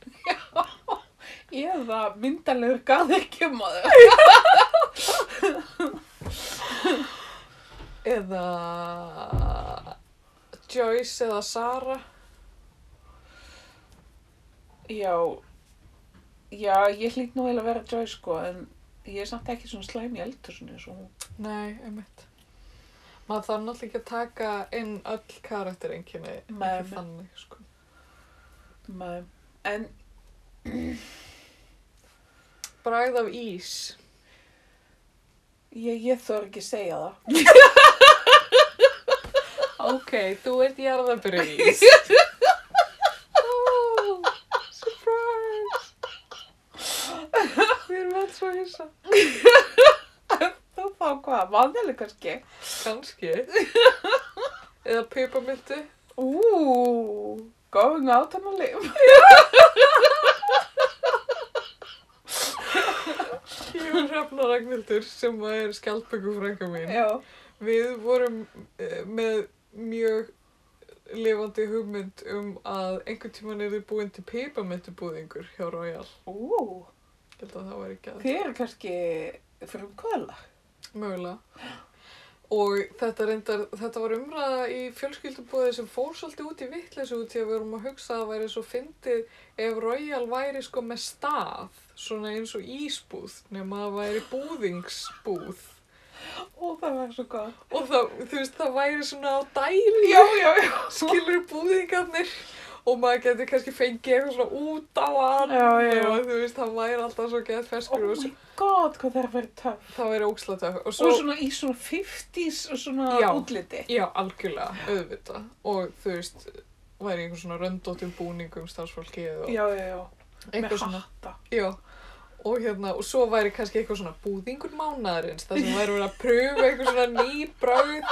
S2: Ég er það myndalegur gaðirkjumaður.
S1: Eða Joyce eða Sara.
S2: Já, já, ég hlýt nú eiginlega að vera Joy sko, en ég er samt ekki svona slæm í eldursunni. Svo.
S1: Nei, einmitt. Maður þarf náttúrulega ekki að taka inn öll karaktereinkinni.
S2: Nei,
S1: Ekki
S2: nei.
S1: þannig, sko.
S2: Maður. En
S1: Bragð af ís.
S2: ég, ég þor ekki að segja það.
S1: Ok, þú ert jarðabyrju ís. oh, surprise! Við erum alls svo hissa.
S2: Þú þá hvað, vannileg kannski?
S1: Kanski. Eða piparmyndu.
S2: Ú, going out on a limb.
S1: Ég er Hrefna Ragnhildur sem að er skjaldböku frænka mín.
S2: Já.
S1: Við vorum eh, með mjög lifandi hugmynd um að einhvern tíman er þið búin til piparmyndubúðingur hjá Royal.
S2: Ú,
S1: Ég held að það var ekki að
S2: þið eru kannski frumkvöðla.
S1: Mögulega. Og þetta, reyndar, þetta var umræða í fjölskyldubóði sem fór svolítið út í vitleysu út í að við vorum að hugsa að það væri svo fyndið ef Royal væri sko með stað, svona eins og ísbúð, nema að það væri búðingsbúð.
S2: Ó, það var svo gott.
S1: Og það, þú veist, það væri svona á dælu,
S2: Já, já, já.
S1: skilur búðingarnir og maður getur kannski fengið eitthvað svona út á hann
S2: Já, já, já.
S1: og þú veist, það væri alltaf svo gett
S2: Oh
S1: ferskur og
S2: my
S1: svo,
S2: god, hvað það er að vera töff.
S1: það væri ókslega töff. Og
S2: Svo
S1: svo,
S2: svona í svona 50s og svona
S1: Já.
S2: útliti.
S1: Já, algjörlega, auðvitað. Og þú veist, væri einhver svona röndóttum búningum um starfsfólkið og
S2: Já, já, já.
S1: eitthvað
S2: Með
S1: svona.
S2: hatta.
S1: Já, og hérna, og svo væri kannski eitthvað svona búðingur mánaðarins, það sem væri verið að pröfa eitthvað svona ný bröð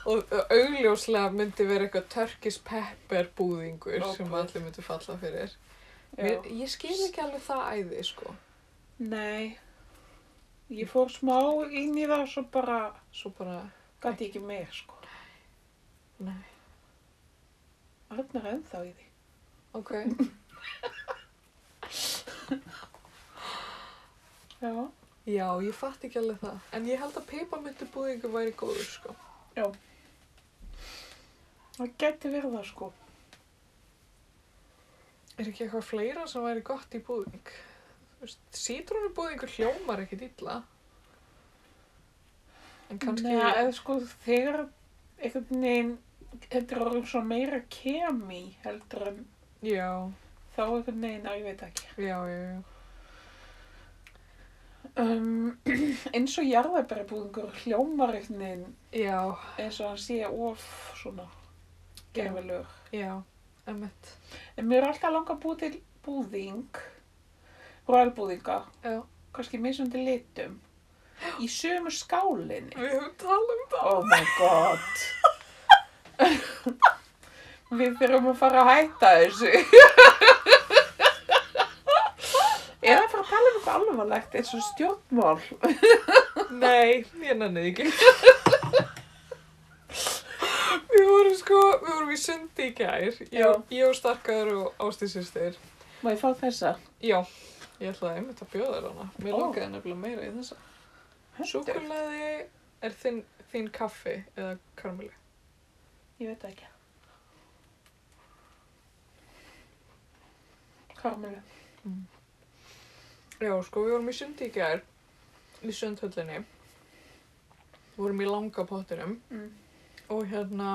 S1: og augljóslega myndi verið eitthvað Turkish pepper búðingur sem
S2: Ókei.
S1: allir myndi falla fyrir.
S2: Já.
S1: Mér, ég skil ekki alveg það æði, sko.
S2: Nei. Ég fór smá inn í það svo bara
S1: Svo bara,
S2: gæti ekki meir, sko.
S1: nei,
S2: Arnar er ennþá í því.
S1: ok.
S2: Já.
S1: Já, ég fatt ekki alveg það. En ég held að peiparmyndubúðingur væri góður, sko.
S2: Það geti verið það sko.
S1: Er ekki eitthvað fleira sem væri gott í búðing? Þú veist, Sítrónubúðingur hljómar ekkit illa. En kannski...
S2: Nei, eða sko þegar einhvern veginn, þetta er orðin svo meira kemi heldur en
S1: Já,
S2: þá einhvern veginn, að ég veit ekki.
S1: já, já, já.
S2: Um, eins og jarðabærabúðingur hljómar einhvern veginn
S1: Já,
S2: eins og hann sé of svona gefilegur.
S1: já, emmitt.
S2: En mér er alltaf langa að búa til búðing, rælbúðinga,
S1: Já.
S2: kannski mismundi litum, í sömu skálinni.
S1: Við höfum talað um það.
S2: Oh my god. Við þurfum að fara að hætta þessu. Eða fara að tala um eitthvað alvarlegt eins og stjórnmál.
S1: Nei, ég nenniði ekki. við vorum sko, við vorum í sundi í gær.
S2: Já.
S1: Ég, ég og Starkaður og Ástísistir.
S2: Má ég fá þessa?
S1: Já, ég ætlaði einmitt að bjóða þér hana. Mér
S2: Ó.
S1: langaði nefnilega meira í þessa.
S2: Hendur?
S1: Súkulaði er þinn, þín kaffi eða karmeli.
S2: Ég veit það ekki. Karmelu.
S1: Já, sko, við vorum í sundi í gær, í sundhöllinni. Við vorum í langa pottinum.
S2: Mm.
S1: og hérna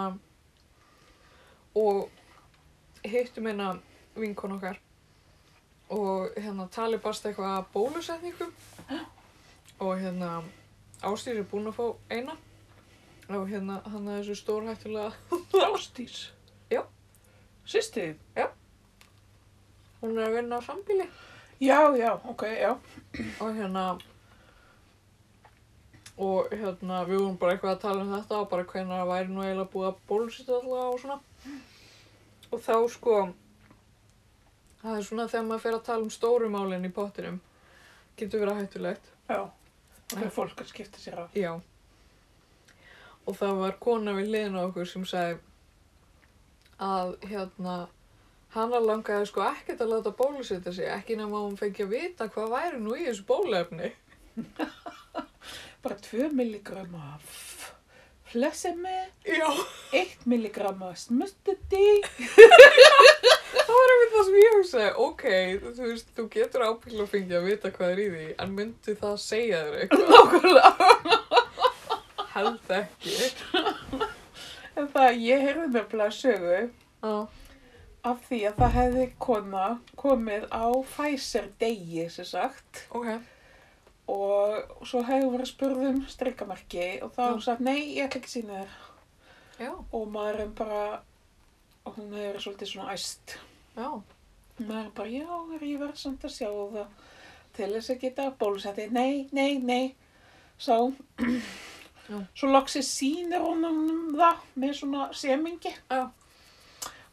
S1: og hittum hérna vinkon okkar og hérna tali barst eitthvað að bólusetningum og hérna Ástýr er búin að fá eina og hérna hann er þessu stórhættulega
S2: Ástís?
S1: Já.
S2: Sýstið?
S1: hún er að vinna á sambíli
S2: Já, já, ok, já.
S1: og hérna og hérna við vorum bara eitthvað að tala um þetta og bara hvenær það væri nú eiginlega búið að bólusetja allavega og svona og þá sko það er svona þegar maður fer að tala um stóru málin í pottinum getur verið hættulegt
S2: Já. Það
S1: Mm.
S2: er fólk að skipta sér af.
S1: já og það var kona við liðin á okkur sem sagði að hérna hana langaði sko ekkert að láta bólusetja sig ekki nema að hún fengi að vita hvað væri nú í þessu bólefni
S2: Bara 2 milligram af flessemi,
S1: já
S2: 1 milligram af smustudi.
S1: Það var einmitt það sem ég hugsaði, ok, þú veist, þú getur ábyggilega að fengja að vita hvað er í því, en myndi það segja þér eitthvað?
S2: Nákvæmlega.
S1: Held ekki.
S2: En það, ég heyrði nefnilega sögu
S1: Já.
S2: af því að það hefði kona komið á Pfizer degi, sem sagt.
S1: Ok.
S2: Og svo hefði hún verið spurð um streikamarki og þá hefði hún sagt, nei, ég ætla ekki að sína þér.
S1: Já,
S2: Og maðurinn bara, og hún hefði verið svolítið svona æst.
S1: já.
S2: maður bara, já, er ég verið samt að sjá það til þess að geta bólusetti nei, nei, nei svo
S1: Já.
S2: svo loksir sýnir honum það með svona semingi
S1: Já.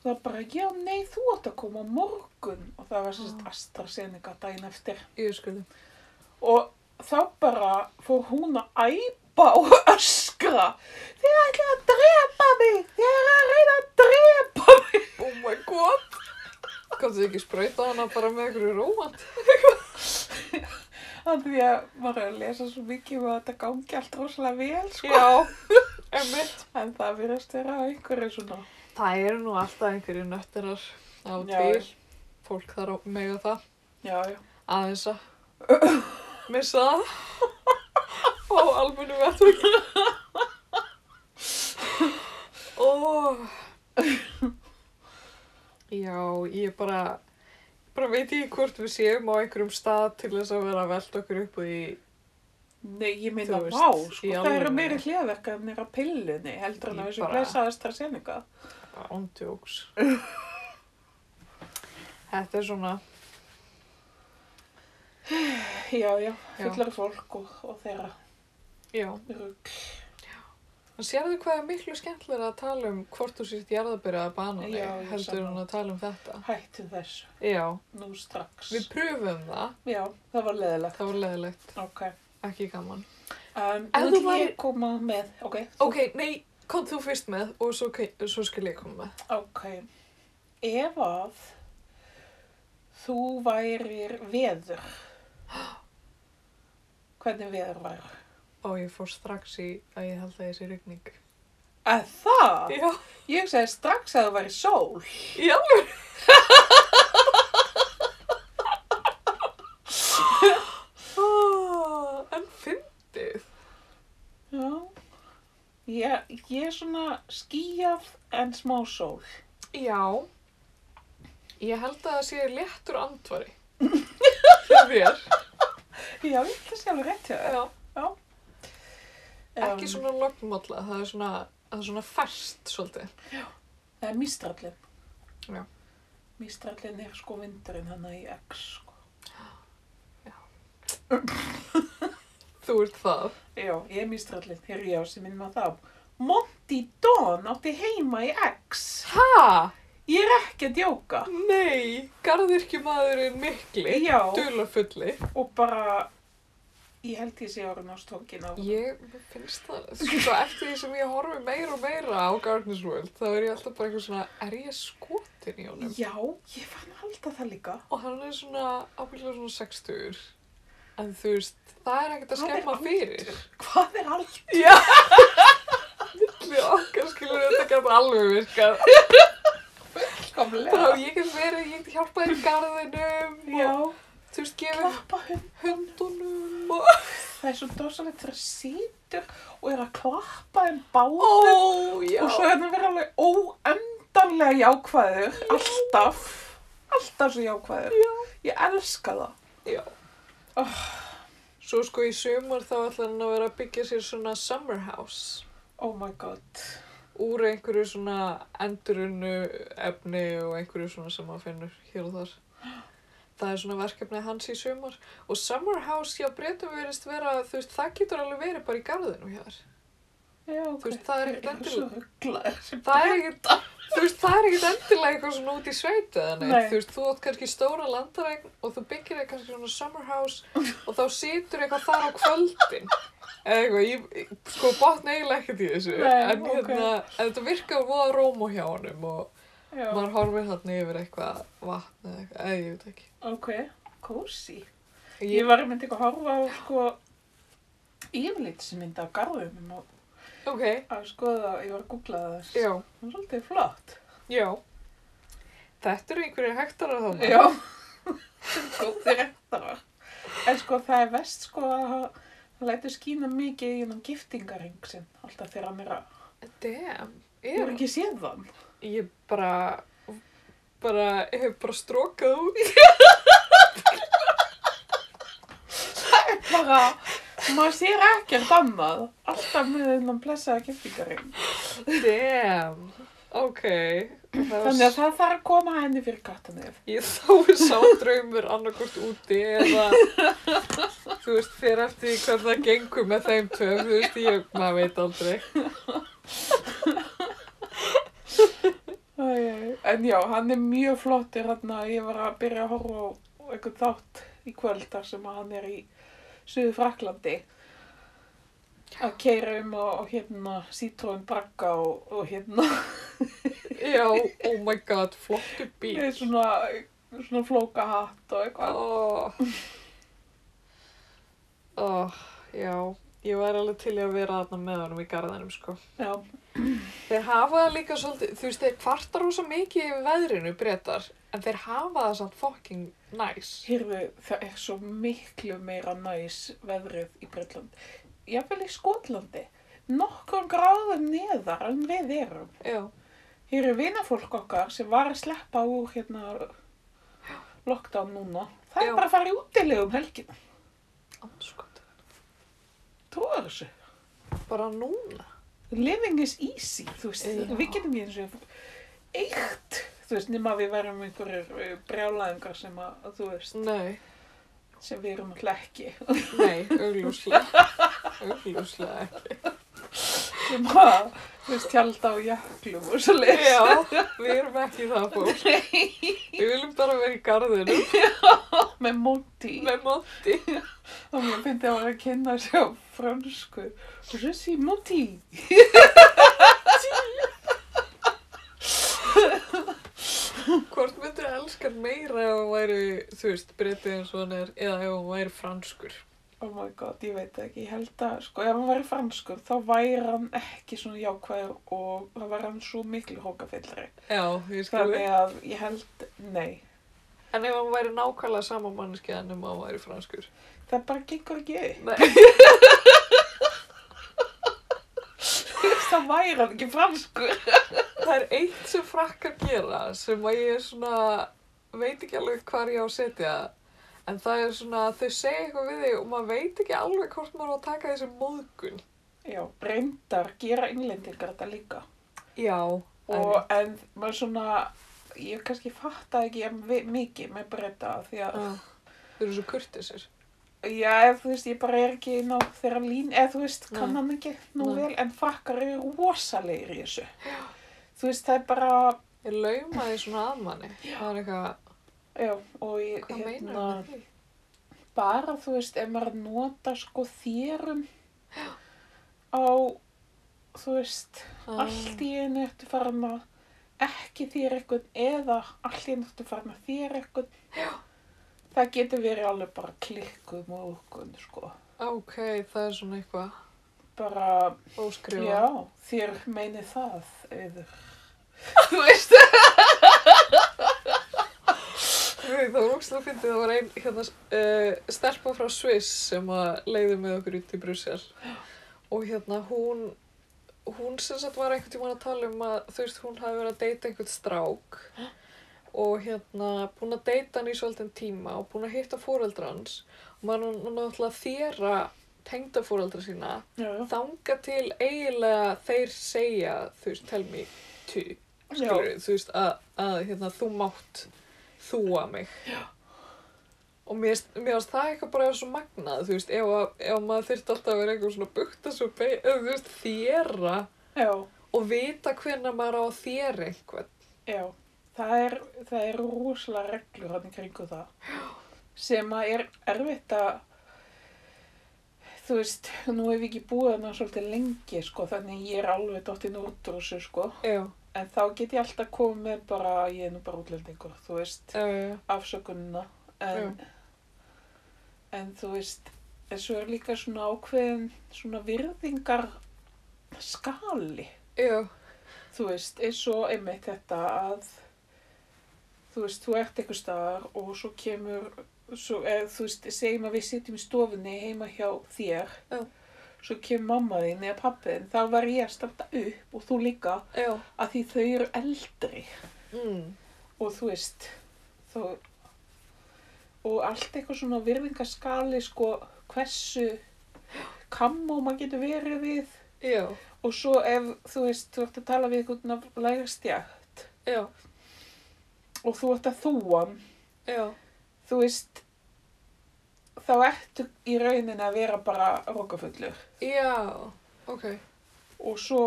S2: það bara, já, nei, þú átt að koma á morgun og það var sérst AstraZeneca daginn eftir
S1: Ég skuldi.
S2: og þá bara fór hún að æpa og öskra þið ætlaði að drepa mig þið er að reyna að drepa mig
S1: Oh my god. Kannski ekki sprauta hana bara með einhverju rómant.
S2: Af því að maður er að lesa svo mikið um að þetta gangi allt rosalega vel, sko.
S1: Já. Emmitt.
S2: En það virðast vera einhverju svona.
S1: Það eru nú alltaf einhverju nötterar á
S2: Já.
S1: til. Fólk þar á mega það.
S2: Já, já.
S1: Aðeins að missa það. Á almennu vettur. Ó. Já, ég bara, bara veit ég hvort við séum á einhverjum stað til þess að vera að velta okkur upp í,
S2: Nei, ég meina,
S1: Þú veist,
S2: vá, sko, það
S1: í
S2: eru
S1: alvöru.
S2: meiri hliðverkanir á pillunni heldur en
S1: Ég
S2: að þessu
S1: bara-
S2: blessa AstraZeneca.
S1: ándjóks. Þetta er svona,
S2: Já, já, fullar fólk og, og þeirra
S1: já.
S2: rugg.
S1: En sérðu hvað er miklu skemmtilega að tala um hvort þú sýrt jarðabyrja að banani
S2: Já, ég
S1: heldur
S2: sammála.
S1: en að tala um þetta.
S2: Hættu þessu,
S1: Já,
S2: nú strax.
S1: við pröfum það,
S2: Já, það var leðilegt.
S1: það var leðilegt,
S2: Ok.
S1: ekki gaman.
S2: Um,
S1: Ef
S2: en
S1: þú
S2: þú var...
S1: væri-
S2: Ég koma með, ok. þú-
S1: Ok, nei, kom þú fyrst með og svo, svo skal ég koma með.
S2: Ok. Ef að þú værir veður, hvernig veður var.
S1: og ég fór strax í að ég held að þessi rigning.
S2: Að það?
S1: Já,
S2: Ég sagði strax að það væri sól.
S1: já. Ah, En fyndið.
S2: Já. Ég, ég er svona skýjað en smá sól.
S1: Já. Ég held að það sé léttur andvari. Hjá þér.
S2: Já, ég ætla sé alveg rétt hjá þér.
S1: Já.
S2: Um,
S1: Ekki svona lognmólla, það er svona, það er svona ferskt svolítið.
S2: Það er mistrallin.
S1: Já.
S2: Mistrallin er sko vindurinn hann í X sko.
S1: Þú ert það.
S2: Já, ég er mistrallin. Hér ég á sem minn maður þá. Monty Don átti heima í X.
S1: Ha?
S2: Ég er ekki að djóka.
S1: Nei, garðirkjumadurinn mikli,
S2: Já,
S1: dularfulli.
S2: og bara, ég held ég sé orðin á stókin á.
S1: Ég mér finnst það, sko eftir því sem ég horfi meira og meira á Garden's World, þá er ég alltaf bara eitthvað svona, er ég skotin í honum?
S2: Já, ég fann alltaf það líka.
S1: Og hann er svona, ábyggilega svona 60 en þú veist, það er ekkert að
S2: Hvað er
S1: skemma
S2: aldur?
S1: fyrir.
S2: Hvað er allt?
S1: Já! Milli okkar skilur þetta gæta alveg virkað. Þá
S2: Komlega.
S1: ég get verið, ég get hjálpað í garðinum
S2: Já,
S1: og þú veist, gefið
S2: klappa hund.
S1: hundunum og...
S2: Það er svo dosalegt þegar það situr og er að klappa þeim báðum.
S1: Ó, já!
S2: Og svo er hann verið alveg óendanlega jákvæður, alltaf, alltaf svo jákvæður.
S1: Já.
S2: Ég elska það.
S1: Já. Svo sko í sumar þá ætlar hann að vera að byggja sér svona summer house
S2: Oh my god.
S1: úr einhverju svona endurunnu efni og einhverju svona sem hann finnur hér og þar. Það er svona verkefnið hans í sumar og summer house hjá breytum verist vera, þú veist, það getur alveg verið bara í garðinu hér.
S2: Já, ok.
S1: Þú veist, það er ekkert
S2: Svo
S1: endilega-
S2: rugglaður.
S1: Það er ekkert, þú veist, það er ekkert endilega eitthvað svona út í sveit eða neitt,
S2: Nei.
S1: þú veist, þú átt kannski stóra landaregn og þú byggir þér kannski svona summer house og þá situr eitthvað þar á kvöldin eða eitthvað, ég, ég- sko, botna eiginlega ekkert í þessu,
S2: Nei,
S1: en
S2: ok.
S1: hérna, en þetta virkaði voða róm hjá honum og
S2: Já,
S1: maður horfir þarna yfir eitthvað vatn eða eitthvað, eða ég veit ekki.
S2: ok. Kósi. Ég
S1: Ég,
S2: var einmitt eitthvað að horfa á, sko, yfirlitsmynd af garðum og
S1: ok,
S2: að skoða, ég var að googla það. þess.
S1: já,
S2: Það er svolítið flott.
S1: já, þetta eru einhverjir hektarar þarna.
S2: Já. Góðir réttara. En sko það er vest sko að hann- hann lætur skína mikið í hennan giftingaring sinn. Alltaf þegar hann er að,
S1: Damn,
S2: ég
S1: já.
S2: er ekki séð þann.
S1: Ég bara, bara, ég hef bara strókað út.
S2: Bara, maður sér ekkert annað. Alltaf með hennan blessaða giftingaring.
S1: Damn, ok. Það
S2: Þannig að það þarf að koma henni fyrir kattanif.
S1: Ég þá er sá draumur annarkort úti eða, þú veist, fyrir eftir því hvernig það gengur með þeim tveim, þú veist, ég, maður veit aldrei.
S2: En já, hann er mjög flottir hann að ég var að byrja að horfa á einhvern þátt í kvöld þar sem að hann er í Suðu Fraklandi að keira um og, og hérna sítróin brakka og, og hérna
S1: Já, oh my god, flottu bíl.
S2: með svona, svona flóka hatt og eitthvað.
S1: Oh. Oh, já, ég væri alveg til í að vera þarna með honum í garðinum, sko.
S2: Já,
S1: Þeir hafa það líka svolítið, þú veist, þeir kvarta rosa mikið yfir veðrinu breytar, en þeir hafa það samt fucking næs.
S2: hérðu, það er svo miklu meira næs veðrið í Bretland. Jafnvel í Skotlandi, nokkrum gráðum neðar en við erum.
S1: Já,
S2: Hér er vinafólk okkar sem var að sleppa úr hérna lockdown núna. Það
S1: Já.
S2: er bara að fara í útilegu um helgina.
S1: anskot.
S2: Trúar þessu.
S1: Bara núna.
S2: Living is easy, þú veist.
S1: Já.
S2: Við getum ekki eins og eitt, þú veist, nema við verðum einhverjir eh, brjálæðingar sem að, þú veist,
S1: Nei,
S2: sem við erum alltaf ekki.
S1: nei, augljóslega. augljóslega ekki.
S2: Sem að, þú veist, tjálta á jaklum og svo leist.
S1: Já, við erum ekki það fólk. Við viljum bara vera í garðinu
S2: Með móti.
S1: með mótti.
S2: Og mér finnst það að vera að kynna sér á fransku. Og svo sé móti.
S1: Hvort myndur elskar meira ef hún væri, þú veist, breytið eins og hann er, eða ef hún væri franskur?
S2: Oh my god, ég veit það ekki, ég held að, sko, ef hann væri franskur, þá væri hann ekki svona jákvæður og þá væri hann svo miklu hókafillri.
S1: Já, ég skilur.
S2: Þannig að ég held, nei,
S1: En ef hann væri nákvæmlega sama manneskja en ef hann væri franskur.
S2: það bara gengur ekki upp.
S1: Nei.
S2: Það væri hann ekki franskur.
S1: Það er eitt sem frakkar gera sem að ég er svona, veit ekki alveg hvar ég á að setja en það er svona að þau segja eitthvað við þig og maður veit ekki alveg hvort maður á að taka þessi móðgun.
S2: Já, reyndar gera innlendingar þetta líka.
S1: Já.
S2: Og, en maður svona, ég kannski fatta ekki en vi- mikið með breyta því að,
S1: Þau eru svo kurtisir.
S2: já, ef þú veist, ég bara er ekki ná þeirra lín, eða þú veist, kann
S1: Nei.
S2: hann ekki nú
S1: Nei.
S2: vel, en frakkar eru rosalegir í þessu. Þú veist, það er bara,
S1: Ég lauma því svona að manni. Það er eitthvað,
S2: já, og ég, hérna,
S1: hvað meinar það með því?
S2: bara, þú veist, ef maður nota sko þérum á, þú veist, allt í einu eftir farin að ekki þér eitthvað eða allt í einu eftir farin að þér eitthvað. Já. Það getur verið alveg bara klikkuð móðgun, sko.
S1: Ah, Ok, það er svona eitthvað
S2: Bara,
S1: óskrifa.
S2: já, þér meini það, auður. þú veist,
S1: Nei, það var ógst að fyndi, það var ein hérna, uh, stelpa frá Sviss sem að leiði með okkur út í Brussel og hérna hún hún sem sagt var einhvern tímann að tala um að þú veist hún hafi verið að deyta einhvern strák og hérna búin að deyta hann í svolítinn tíma og búin að hitta fóreldra hans og maður er nú náttúrulega að þéra tengda fóreldra sína
S2: já, já.
S1: þanga til eiginlega þeir segja þú veist, tell me to skilur
S2: Já.
S1: þú veist, að, að hérna, þú mátt þúa mig Já. og mér finnst- mér finnst það eitthvað bara svo magnað, þú veist, ef, að- ef maður þyrfti alltaf að vera eitthvað svona bukta svo beig, þú veist, þéra
S2: já,
S1: og vita hvenær maður á að þér einhvern
S2: já. Það er, það er rosalega reglur hann í kringu það. Já. Sem að er erfitt að, þú veist, nú hef ég ekki búið hann svolítið lengi, sko, þannig ég er alveg dottinn út úr þessu, sko.
S1: Já,
S2: En þá get ég alltaf komið með bara, ég er nú bara útlendingur, þú veist,
S1: já, já,
S2: afsökunina. En, en þú veist, en svo er líka svona ákveðin svona virðingar skali,
S1: já,
S2: þú veist, eins og einmitt þetta að, þú veist, þú ert einhver staðar og svo kemur, svo, eð, þú veist, segjum að við sitjum í stofunni heima hjá þér,
S1: Já.
S2: svo kemur mamma þín eða pappi þín, þá var ég að standa upp og þú líka,
S1: já,
S2: að því þau eru eldri.
S1: mm,
S2: og þú veist þú, og allt eitthvað svona virðingaskali sko hversu kammo maður getur verið við
S1: já,
S2: og svo ef þú veist þú ert að tala við einhvern af lægastjætt
S1: já,
S2: og þú ert að þúan
S1: já,
S2: þú veist þá ertu í rauninni að vera bara rokafullur
S1: já, ok,
S2: og svo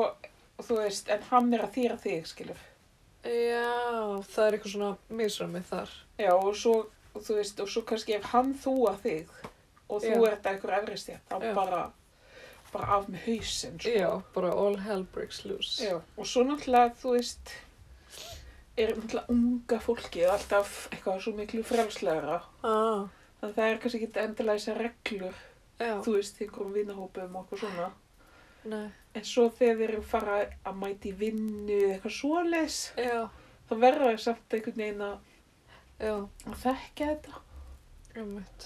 S2: þú veist en hann er að þýra þig skilur
S1: já, það er eitthvað svona misramið þar.
S2: Já, og svo, þú veist, og svo kannski ef hann þúa þig og þú
S1: Já.
S2: ert að einhver efri stétt, þá
S1: Já.
S2: bara, bara af með hausinn, sko.
S1: Já, bara all hell breaks loose.
S2: Já. Og svo náttúrulega, þú veist, er náttúrulega unga fólkið alltaf eitthvað svo miklu frelslegra.
S1: Ah,
S2: Þannig að það er kannski ekki endilega þessar reglur,
S1: já,
S2: þú veist, í einhverjum vinahópum og okkur svona.
S1: nei,
S2: En svo þegar þeir eru fara að mæta í vinnu eða eitthvað svoleiðs,
S1: já,
S2: þá verður það samt einhvern veginn að
S1: já,
S2: að þekka þetta
S1: ummitt.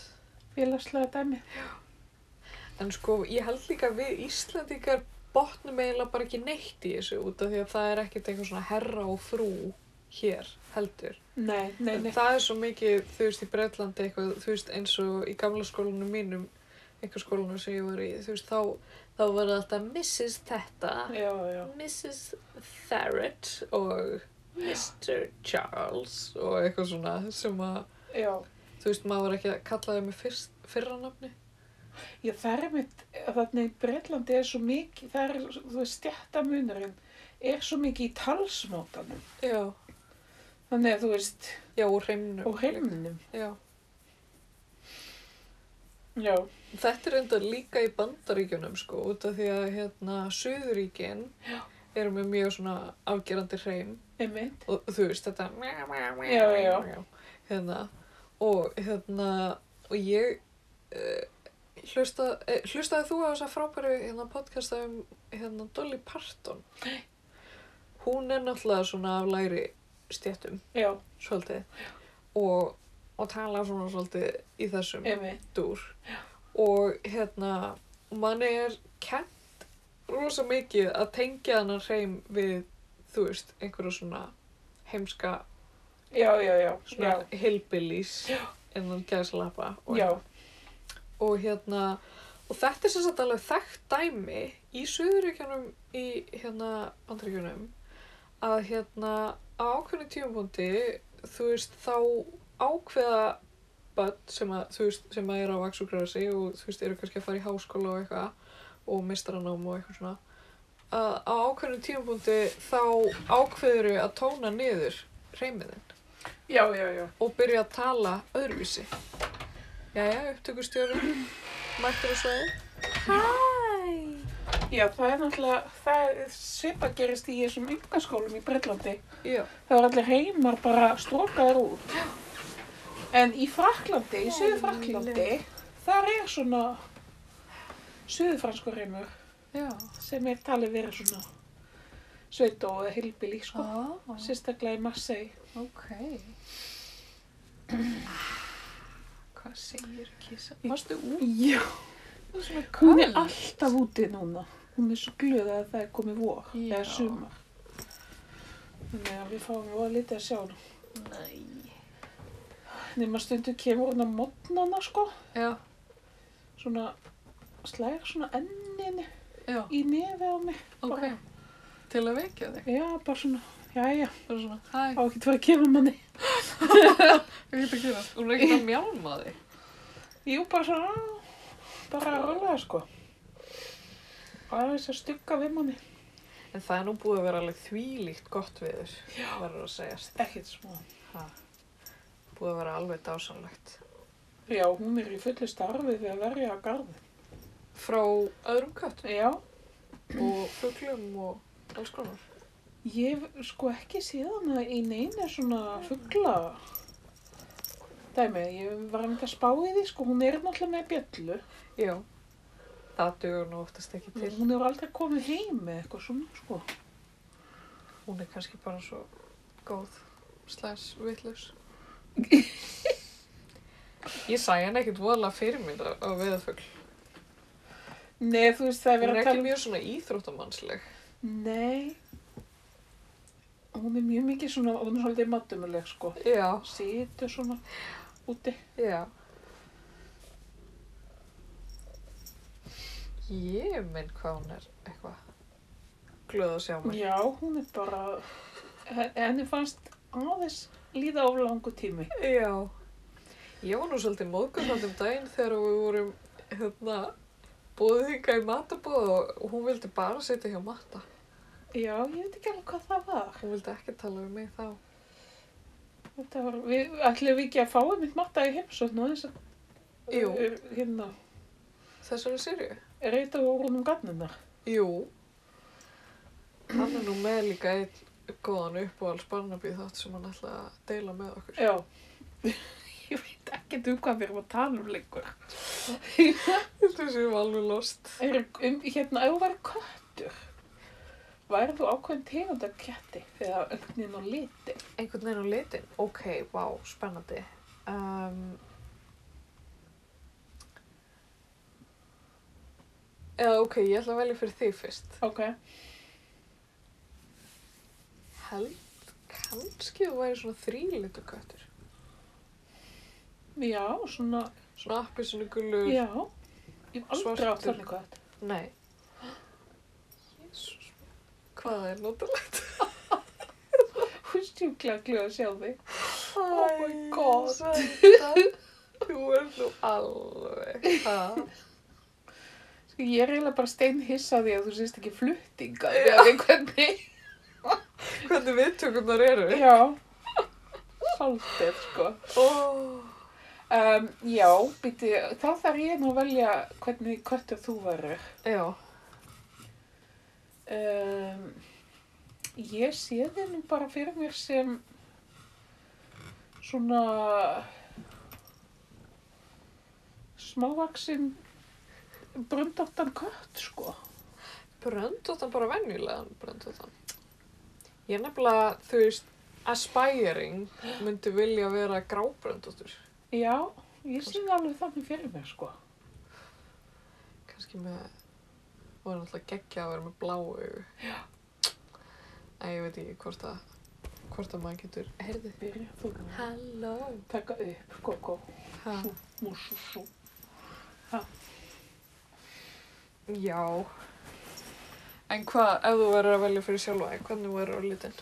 S2: félagslega dæmi.
S1: En sko, ég held líka við Íslandingar botnum eiginlega bara ekki neitt í þessu út af því að það er ekkert eitthvað svona herra og frú hér, heldur.
S2: Nei, nei,
S1: En
S2: nei.
S1: það er svo mikið, þú veist, í Breitlandi eitthvað, þú veist, eins og í gamla skólanum mínum, einhver skólanum sem ég var í, þú veist, þá, þá var þetta Mrs. Þetta,
S2: Já, já.
S1: Mrs. Tharrett og Mr. Charles og eitthvað svona sem að
S2: Já,
S1: Þú veist, maður var ekki að kalla þau með fyrst, fyrra nafni.
S2: já það er mitt, þannig í Breitlandi er svo mikið, það er, þú veist, stjættamunurinn er svo mikið í talsmátanum.
S1: Já.
S2: Þannig að þú veist,
S1: Já, og hreimnum.
S2: og heimnum.
S1: Já.
S2: Já,
S1: Þetta er enda líka í bandaríkjunum, sko, út af því að, hérna, Suðuríkin eru með mjög svona afgerandi hreim
S2: einmitt.
S1: og þú veist, þetta mjá, mjá, mjá,
S2: Já, já.
S1: mjá, hérna, og, hérna, og ég, uh, hlusta, eh, hlustaði þú á þessa frábæru hérna, podcasta um hérna, Dolly Parton? Hún er náttúrulega svona af læri stjettum,
S2: Já,
S1: svolítið, og, og tala svona svolítið í þessum
S2: emi.
S1: dúr. Og hérna, manni er kent rosa mikið að tengja hennar hreim við, þú veist, einhverja svona heimska,
S2: Já, já, já.
S1: svona
S2: já.
S1: hillbillies innan gæslappa og
S2: Já,
S1: og hérna og þetta er sem sagt alveg þekkt dæmi í Suðuríkjunum í hérna bandaríkjunum að hérna á ákveðinu tímapunkti þú veist þá ákveða börn sem að þú veist sem að er á vaksugræðsi og þú veist eru kannski að fara í háskóla og eitthvað og mistaranám og eitthvað svona að á ákveðinu tímapunkti þá ákveður að tóna niður reymiðin
S2: já, já, já.
S1: og byrja að tala öðruvísi. Jæja, upptökustjórun, mættur á svæði. Hæ!
S2: Já, það er náttúrulega, það er svipa gerist í þessum yngaskólum í Breitlandi.
S1: Já,
S2: Það var allir heimar bara strókaðar út. En í Fraklandi, í Suðu Fraklandi, þar er svona suðufranskur heimur
S1: já.
S2: sem er talið verið svona sveit og hilbili, sko.
S1: Ah,
S2: Sérstaklega í Marseille.
S1: ok. Hvað segir kissa?
S2: Varstu út? Já,
S1: Það er svona kall.
S2: hún er alltaf úti núna. Hún er svo glöð að það er komið vor,
S1: Já.
S2: eða sumar. Þannig að við fáum voða lítið að sjá hún.
S1: Nei.
S2: Nefnum stundu kemur hún á modnana, sko.
S1: Já,
S2: Svona slægir svona enninni
S1: já,
S2: í nefið á mig.
S1: ok. Til að vekja þig.
S2: Já, bara svona, jæja,
S1: Bara svona,
S2: á
S1: hæ,
S2: ekki að vera að gefa manni.
S1: hvað getur að gera? Hún er ekkert að mjálma þig.
S2: Jú, bara svona, bara að rola það, sko. Aðeins að stugga við manni.
S1: En það er nú búið að vera alveg þvílíkt gott viður, verður að segjast.
S2: Ekkert smá.
S1: Ha. Búið að vera alveg dásanlegt.
S2: Já, hún er í fullu starfi við að verja að garði.
S1: Frá öðrum kött.
S2: Já,
S1: og fuglum og alls konar.
S2: Ég hef sko ekki séð hana í neina svona fuggla dæmi, ég var einmitt að spá í því sko, hún er náttúrulega með bjöllu
S1: Já. Það dugur nú oftast ekki til.
S2: hún hefur aldrei komið heim með eitthvað svona sko
S1: Hún er kannski bara svo góð slæs vitlaus. Ég sæ henni ekkert voðalega fyrir mér á á veiðafugl.
S2: Nei, þú veist það er
S1: Hún er
S2: verið að
S1: ekki
S2: tala
S1: mjög svona íþróttamannsleg.
S2: um Nei hún er mjög mikið svona, hún er svolítið matumuleg sko
S1: Já,
S2: situr svona úti
S1: já. Ég minn hvað hún er eitthvað glöð að sjá mig.
S2: Já, hún er bara henni fannst aðeins líða of langu tími
S1: Já. Ég var nú svolítið móðgöðsand um daginn þegar við vorum hérna búið þingar í matabóð og hún vildi bara sitja hjá matta.
S2: Já, ég veit ekki alveg hvað það var
S1: Hún vildi ekki tala við mig þá.
S2: Þetta var, við, ætlum við ekki að fá einmitt matta í heimsókn og þess að
S1: Jú.
S2: hérna,
S1: Þessari sirju?
S2: reyta úr húnum garninar.
S1: Jú. Hann er nú með líka einn góðan uppáhalds barnabíð þátt sem hann ætlaði að deila með okkur.
S2: Já. Ég veit ekki um hvað við erum að tala um lengur.
S1: Þessi sem var alveg lost.
S2: Er, um, hérna, ef þú væri köttur, væri þú ákveðin tegund af ketti eða einhvern veginn á liti?
S1: Einhvern veginn á litin? Ok, vá, spennandi. Um, eða ok, ég ætla að velja fyrir þig fyrst.
S2: Ok.
S1: Held, kannski þú væri svona þrýlitur köttur.
S2: Já, svona,
S1: Svona appi sinni gullur.
S2: já. Ég hef aldrei átt
S1: Svartur.
S2: þannig kött.
S1: Nei. Jésús. Hvað það er notalegt?
S2: Hún stjúklega glöð að sjá þig.
S1: Oh
S2: my god.
S1: Þú ert nú alveg. Ha?
S2: Sko, ég er eiginlega bara stein því að þú sést ekki fluttinga. Já. Hvernig?
S1: Hvernig viðtökurnar eru?
S2: Já, svolítið sko.
S1: Oh.
S2: Um, já, býti, þá þarf ég nú að velja hvernig köttur þú verður.
S1: Já.
S2: Um, ég sé þið nú bara fyrir mér sem svona smávaksinn brundáttan kött, sko.
S1: Bröndóttan bara venjulegan bröndóttan. Ég er nefnilega, þú veist, aspiring myndi vilja vera grábröndóttur.
S2: Já, ég sé það alveg þannig fyrir mig, sko.
S1: Kanski með, og er náttúrulega geggja að vera með blá augu. Já. Æ, ég veit ekki hvort að, hvort að maður getur, heyrðu,
S2: Byrja þú að
S1: halló,
S2: taka upp, koko,
S1: ha,
S2: músu, sú.
S1: já. En hvað, ef þú verður að velja fyrir sjálfa, þig, hvernig verður á litin?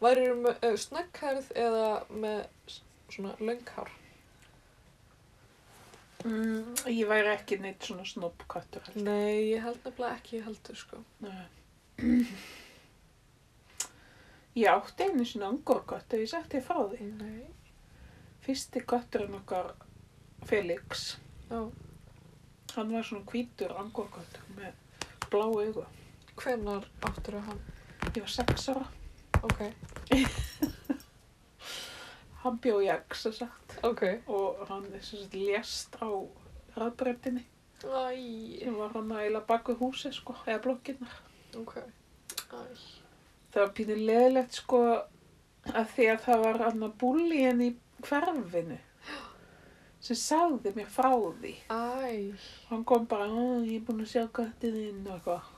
S1: Værir með uh, snögghærð eða með s- svona lönghár?
S2: Mm, ég væri ekki neitt svona snobbköttur. held ég.
S1: Nei, ég held nefnilega ekki heldur, sko.
S2: Nei. Ég átti einu sinni angorkött ef ég sagt ég frá því.
S1: Nei.
S2: Fyrsti kötturinn okkar, Felix,
S1: Já.
S2: hann var svona hvítur angorköttur með blá augu.
S1: Hvenar áttur að hann?
S2: Ég var sex ára,
S1: Ok,
S2: hann bjó í X sem sagt
S1: ok.
S2: og hann er sem sagt lést á rafbreytinni.
S1: Æ,
S2: Ég var hann að eila baku húsi sko, eða blokkinna.
S1: ok. Æ.
S2: Það var pínu leðilegt sko að því að það var hann að búli henni í hverfinu sem sagði mér frá því.
S1: Æ,
S2: Hann kom bara, "Ó, ég er búinn að sjá kattið þinn og eitthvað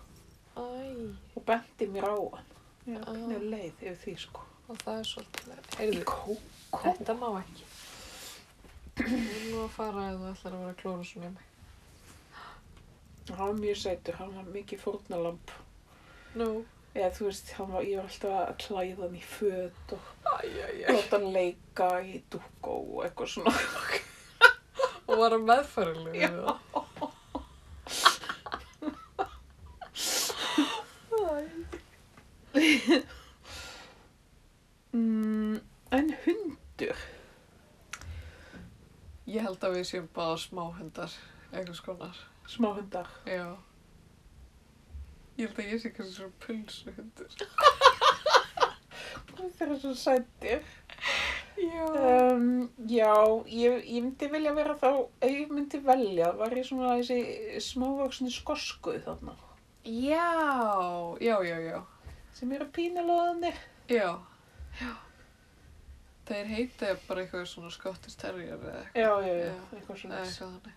S1: æ.
S2: og benti mér á hann. Ég
S1: Ah.
S2: var pínu leið yfir því sko.
S1: Og það er svolítið.
S2: Í
S1: Heyrðu,
S2: kókó.
S1: þetta má ekki. Ég er nú að fara ef þú ætlar að vera klóra svona hjá mig.
S2: Hann var mjög sætur, hann var mikið fórnalamb.
S1: Nú.
S2: Eða þú veist, hann var, ég var alltaf að klæða hann í föt og
S1: Æ, æ,
S2: láta hann leika í dúkó og eitthvað svona.
S1: Og var að meðfærilegu
S2: Já.
S1: við það.
S2: Mm, en hundur,
S1: Ég held að við séum bara smáhundar, einhvers konar.
S2: smáhundar.
S1: Já. Ég held að ég sé kannski svona pulsuhundur.
S2: Það er svo sættir.
S1: Já.
S2: Um, já, ég, ég myndi vilja vera þá, ef ég myndi velja, var ég svona þessi smávaksni skosku þarna.
S1: Já, já, já, já.
S2: Sem eru pínulóðanir.
S1: Já. Já. Þeir heita bara eitthvað svona skottisterjar eða eitthvað.
S2: Já, já, já,
S1: Já.
S2: eitthvað
S1: Eða
S2: svona.
S1: eitthvað þannig.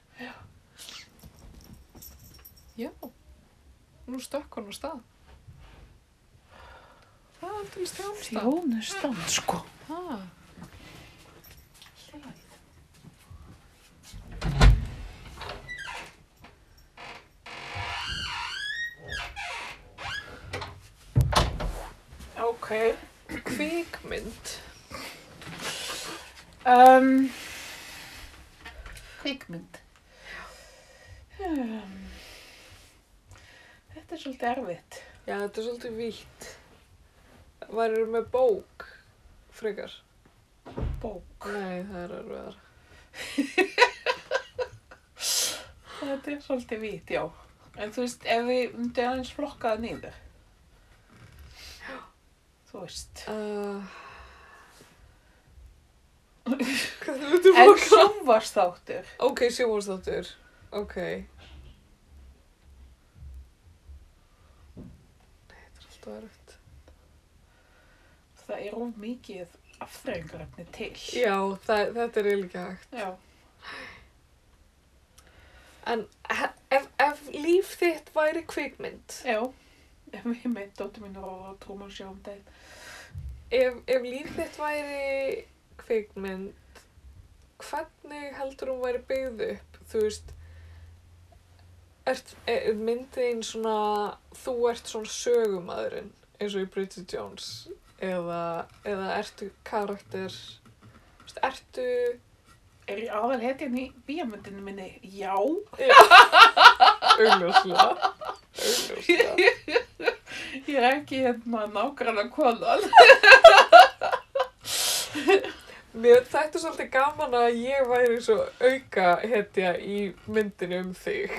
S1: Já. Nú stökk hann á stað. Það er til stjámstað.
S2: Þjónustan, sko.
S1: Ha.
S2: Ok.
S1: Kvíkmynd.
S2: Um, Kvikmynd. Um, þetta er svolítið erfitt.
S1: Já, þetta er svolítið vítt. Varir með bók, frekar?
S2: Bók.
S1: Nei, það er erfiðar.
S2: Þetta er svolítið vít, já. En þú veist, ef við myndum aðeins flokka það niður. Þú veist.
S1: Uh, Hvað er þetta
S2: En
S1: bók?
S2: sjónvarstáttur.
S1: Ok, sjónvarsþáttur. Ok. Nei, þetta er alltaf erfitt.
S2: Það er of mikið afþreyingarefni til.
S1: Já, það, þetta er eiginlega ekki hægt.
S2: Já.
S1: En he- ef, ef líf þitt væri kvikmynd,
S2: Já. Ef við með dóttur mín og trúmum sjáum dæð.
S1: ef, ef líf þitt væri kvikmynd, hvernig heldur hún væri byggð upp? Þú veist, ert, er myndin svona, þú ert svona sögumadurinn, eins og í Bridget Jones, eða, eða ertu karakter, þú veist, ertu,
S2: Er ég aðal hetjan í bíamöndinu minni? Já.
S1: já, augljóslega, augljóslega.
S2: Ég er ekki hérna nákvæmlega konan.
S1: Mér þætti svolítið gaman að ég væri svo auka hetja í myndinu um þig.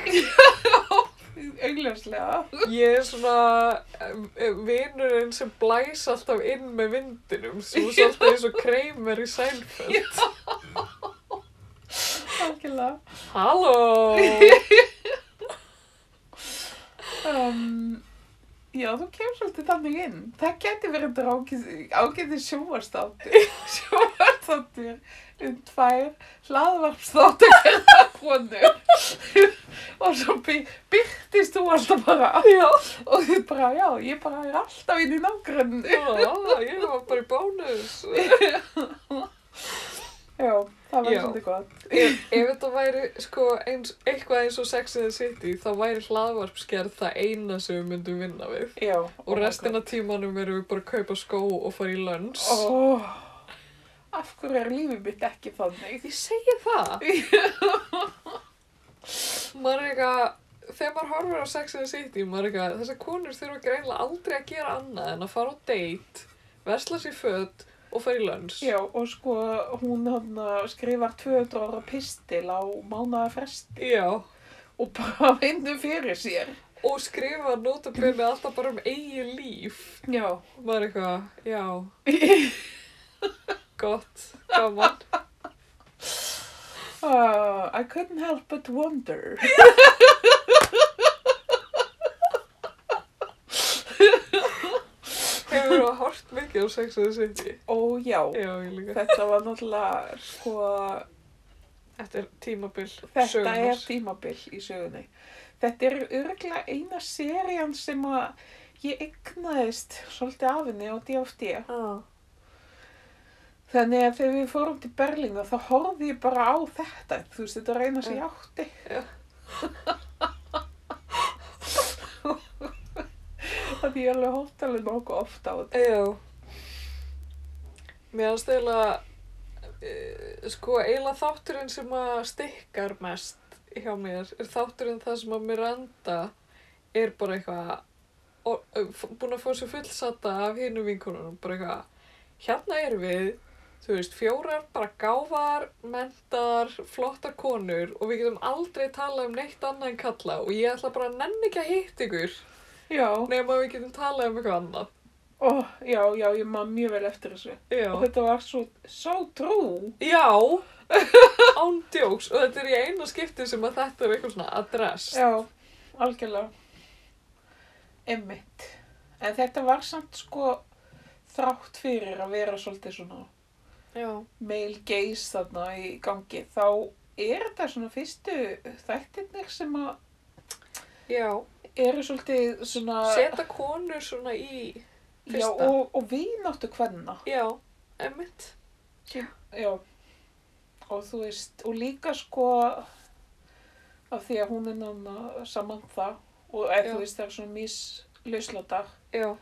S2: Augljóslega.
S1: Ég er svona eh, vinurinn sem blæs alltaf inn með vindinum, svo svolítið eins og kreimur í sælföld.
S2: Algjörlega.
S1: Halló!
S2: Um, já, þú kemur svolítið þannig inn. Það geti verið ágætið sjóvarstáttur. Sjóvarstáttur um tvær hlaðvarpstáttur hérna konur. og svo by, byrtist þú alltaf bara. Já. Og þið bara, já, ég bara er alltaf inn í nágrunni.
S1: Já, ég var bara í bónus.
S2: Já, það var
S1: Já.
S2: svolítið gott.
S1: Ef ef þetta væri sko eins, eitthvað eins og Sex and the City, þá væri hlaðvarpsgerð það eina sem við myndum vinna við.
S2: Já.
S1: Og restina tímanum erum við bara að kaupa skó og fara í lönns.
S2: Ó, af hverju er lífið mitt ekki þannig?
S1: Ég segi það. maður er eitthvað, þegar maður horfir á Sex and the City, maður er eitthvað, þessar konur þurfa greinlega aldrei að gera annað en að fara á date, versla sér föt og fara í lönns.
S2: Já, og sko, hún hann skrifar 200 ára pistil á mánaða fresti
S1: Já.
S2: og bara vinnu fyrir sér.
S1: Og skrifa notabenni alltaf bara um eigin líf.
S2: Já.
S1: Maður er eitthvað, já, gott, gaman.
S2: Uh, I couldn't help but wonder.
S1: Hefur þú hort mikið á Sex and the City?
S2: Ó, já.
S1: Já, ég líka.
S2: Þetta var náttúrulega, sko,
S1: Þetta er tímabil
S2: þetta
S1: sögunar.
S2: er tímabil í sögunni. Þetta er örgla eina serían sem að ég egnaðist svolítið af henni á D.F.D.
S1: Ah.
S2: Þannig að þegar við fórum til Berlín þá horfði ég bara á þetta. Þú veist, þetta var eina sem ég átti.
S1: Já.
S2: Þannig ég alveg hótt alveg nokkuð oft á þetta.
S1: Eh, Já. Mér finnst eiginlega, eh, sko, eiginlega þátturinn sem að stikkar mest hjá mér er þátturinn það sem að Miranda er bara eitthvað, og- eh, f- búin að fá sér fullsatta af hinum vinkonunum, bara eitthvað, hérna erum við, þú veist, fjórar bara gáfar, menntar, flottar konur og við getum aldrei talað um neitt annað en kalla og ég ætla bara að nenni ekki að hitt ykkur
S2: Já,
S1: nema að við getum talað um eitthvað annað.
S2: Ó, já, já, ég maður mjög vel eftir þessu.
S1: Já.
S2: Og þetta var svo, svo trú.
S1: Já, ándjóks og þetta er í eina skipti sem að þetta er eitthvað svona adress.
S2: Já, algjörlega. Emmitt. En þetta var samt sko þrátt fyrir að vera svolítið svona
S1: Já.
S2: male gaze þarna í gangi þá er þetta svona fyrstu þættirnir sem að
S1: Já,
S2: eru svolítið svona
S1: setja konur svona í,
S2: já,
S1: fyrsta.
S2: og, og vináttu hvenna
S1: já, emmitt.
S2: já. og þú veist og líka sko af því að hún er nána saman það og eða
S1: Já.
S2: þú veist það er svona mislauslatar
S1: Já,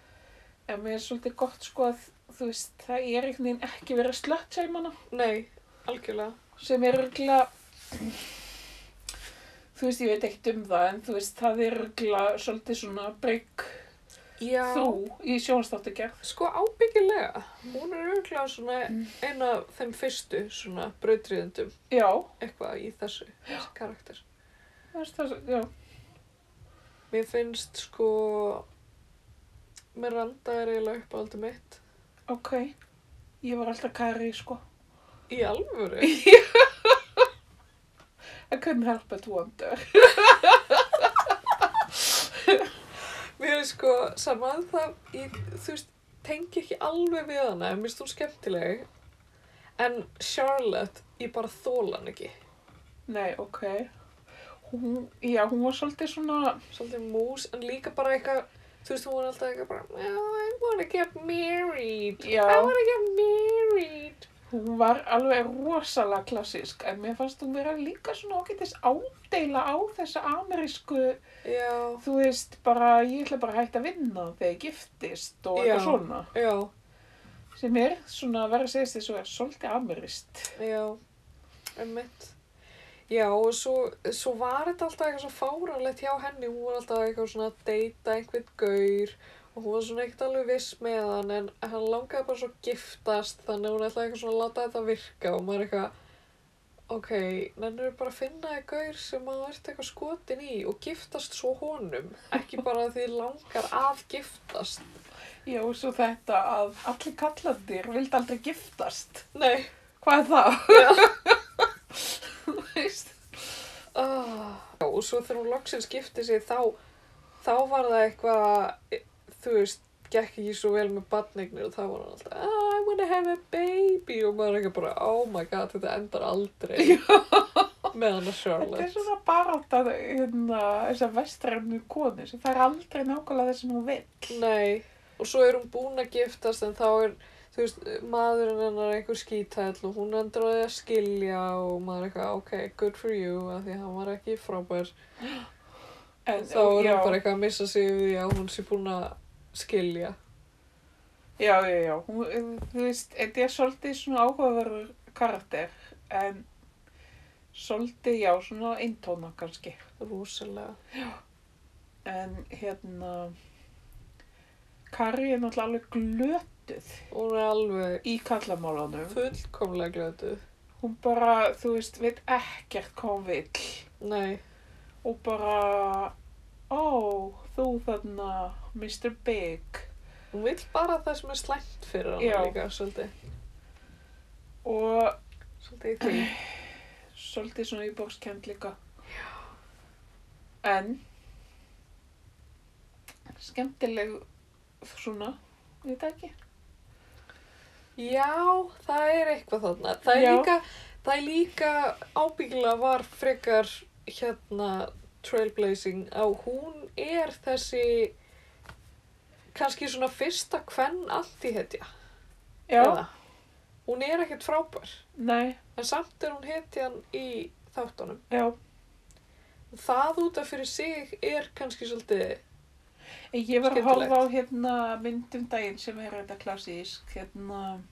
S2: en mér er svolítið gott sko að þú veist það er einhvern veginn ekki verið að slött sem hana
S1: nei, algjörlega.
S2: sem er örgulega þú veist, ég veit ekkert um það en þú veist, það er örgulega svolítið svona break
S1: Já.
S2: through í sjónastáttugerð
S1: Sko ábyggilega, hún er auðvitað svona eina af þeim fyrstu svona brautriðendum
S2: já,
S1: eitthvað í þessu, þessu karakter.
S2: þú veist það, já,
S1: Mér finnst sko, Miranda er eiginlega uppáhaldið mitt.
S2: ok ég var alltaf Kari, sko
S1: Í alvöru?
S2: I couldn't help but wonder
S1: Mér er sko saman það, ég, þú veist, tengi ekki alveg við hana, en mér finnst hún skemmtileg. En Charlotte, ég bara þóla hann ekki.
S2: nei, ok hún, já, hún var svolítið svona
S1: Svolítið mús, en líka bara eitthvað, þú veist, hún var alltaf eitthvað bara, "Oh, I wanna get married,
S2: Já.
S1: I wanna get married.
S2: hún var alveg rosalega klassísk en mér fannst hún vera líka svona ágætis ádeila á þessa amerísku
S1: Já,
S2: þú veist, bara, ég ætla bara að hætta að vinna þegar ég giftist og
S1: Já.
S2: eitthvað svona.
S1: já,
S2: Sem er svona að vera að segja þess að er svolítið amirist.
S1: já, emmitt. Já, og svo, svo var þetta alltaf eitthvað svo fáránlegt hjá henni, hún var alltaf eitthvað svona að deyta einhvern gaur og hún var svona ekkert alveg viss með hann en hann langaði bara svo að giftast þannig að hún ætlaði eitthvað svona að láta þetta virka og maður eitthvað, ok, nennur bara að finna þig gaur sem maður ert eitthvað skotin í og giftast svo honum, ekki bara að því þig langar að giftast.
S2: Já, og svo þetta að allir kallandir vildi aldrei giftast.
S1: Nei,
S2: Hvað er það?
S1: já.
S2: Þú veist?
S1: Oh. Og svo þegar hún loksins gifti sig þá þá var það eitthvað, þú veist, gekk ekki svo vel með badneignir og þá var hann alltaf, "Ah, I wanna have a baby og maður ekki bara, oh my god, þetta endar aldrei með hann að
S2: Þetta er
S1: Charlotte.
S2: svona barátt að hérna, þessar vestræfnu konu sem fær aldrei nákvæmlega það sem hún vill.
S1: Nei, og svo er hún búin að giftast en þá er, þú veist, maðurinn hennar einhver skítæll og hún endur á því að skilja og maður eitthvað, ok, good for you, af því að hann var ekki frábær.
S2: En,
S1: Þá er
S2: já,
S1: hún bara eitthvað að missa sig yfir því að hún sé búin að skilja.
S2: Já, já, já. Hún, eh, þú veist, þetta er svolítið svona áhugaverður karakter, en svolítið, já, svona eintóna kannski.
S1: Rúsalega.
S2: En hérna, Kari er náttúrulega alveg glötuð
S1: Hún er alveg
S2: í kallamálanum.
S1: fullkomlega glötuð.
S2: Hún bara, þú veist, veit ekkert hvað hún vill
S1: Nei,
S2: og bara, ó, þú þarna, Mr. Big.
S1: hún vil bara það sem er slæmt fyrir hann
S2: Já.
S1: líka, svolítið.
S2: Og
S1: Svolítið í því.
S2: svolítið svona íbókskend líka. Já. En, skemmtileg svona, ég veit það ekki.
S1: Já, það er eitthvað þarna. Það er
S2: Já.
S1: líka, það er líka ábyggilega var frekar hérna trailblazing á hún er þessi kannski svona fyrsta kvenn allt í hetja.
S2: Já,
S1: Hún er ekkert frábær,
S2: nei,
S1: en samt er hún hetjan í þáttunum.
S2: já.
S1: Það út af fyrir sig er kannski svolítið,
S2: En Ég var að horfa á
S1: Skemmtilegt.
S2: hérna myndum daginn sem er þetta klassísk, hérna,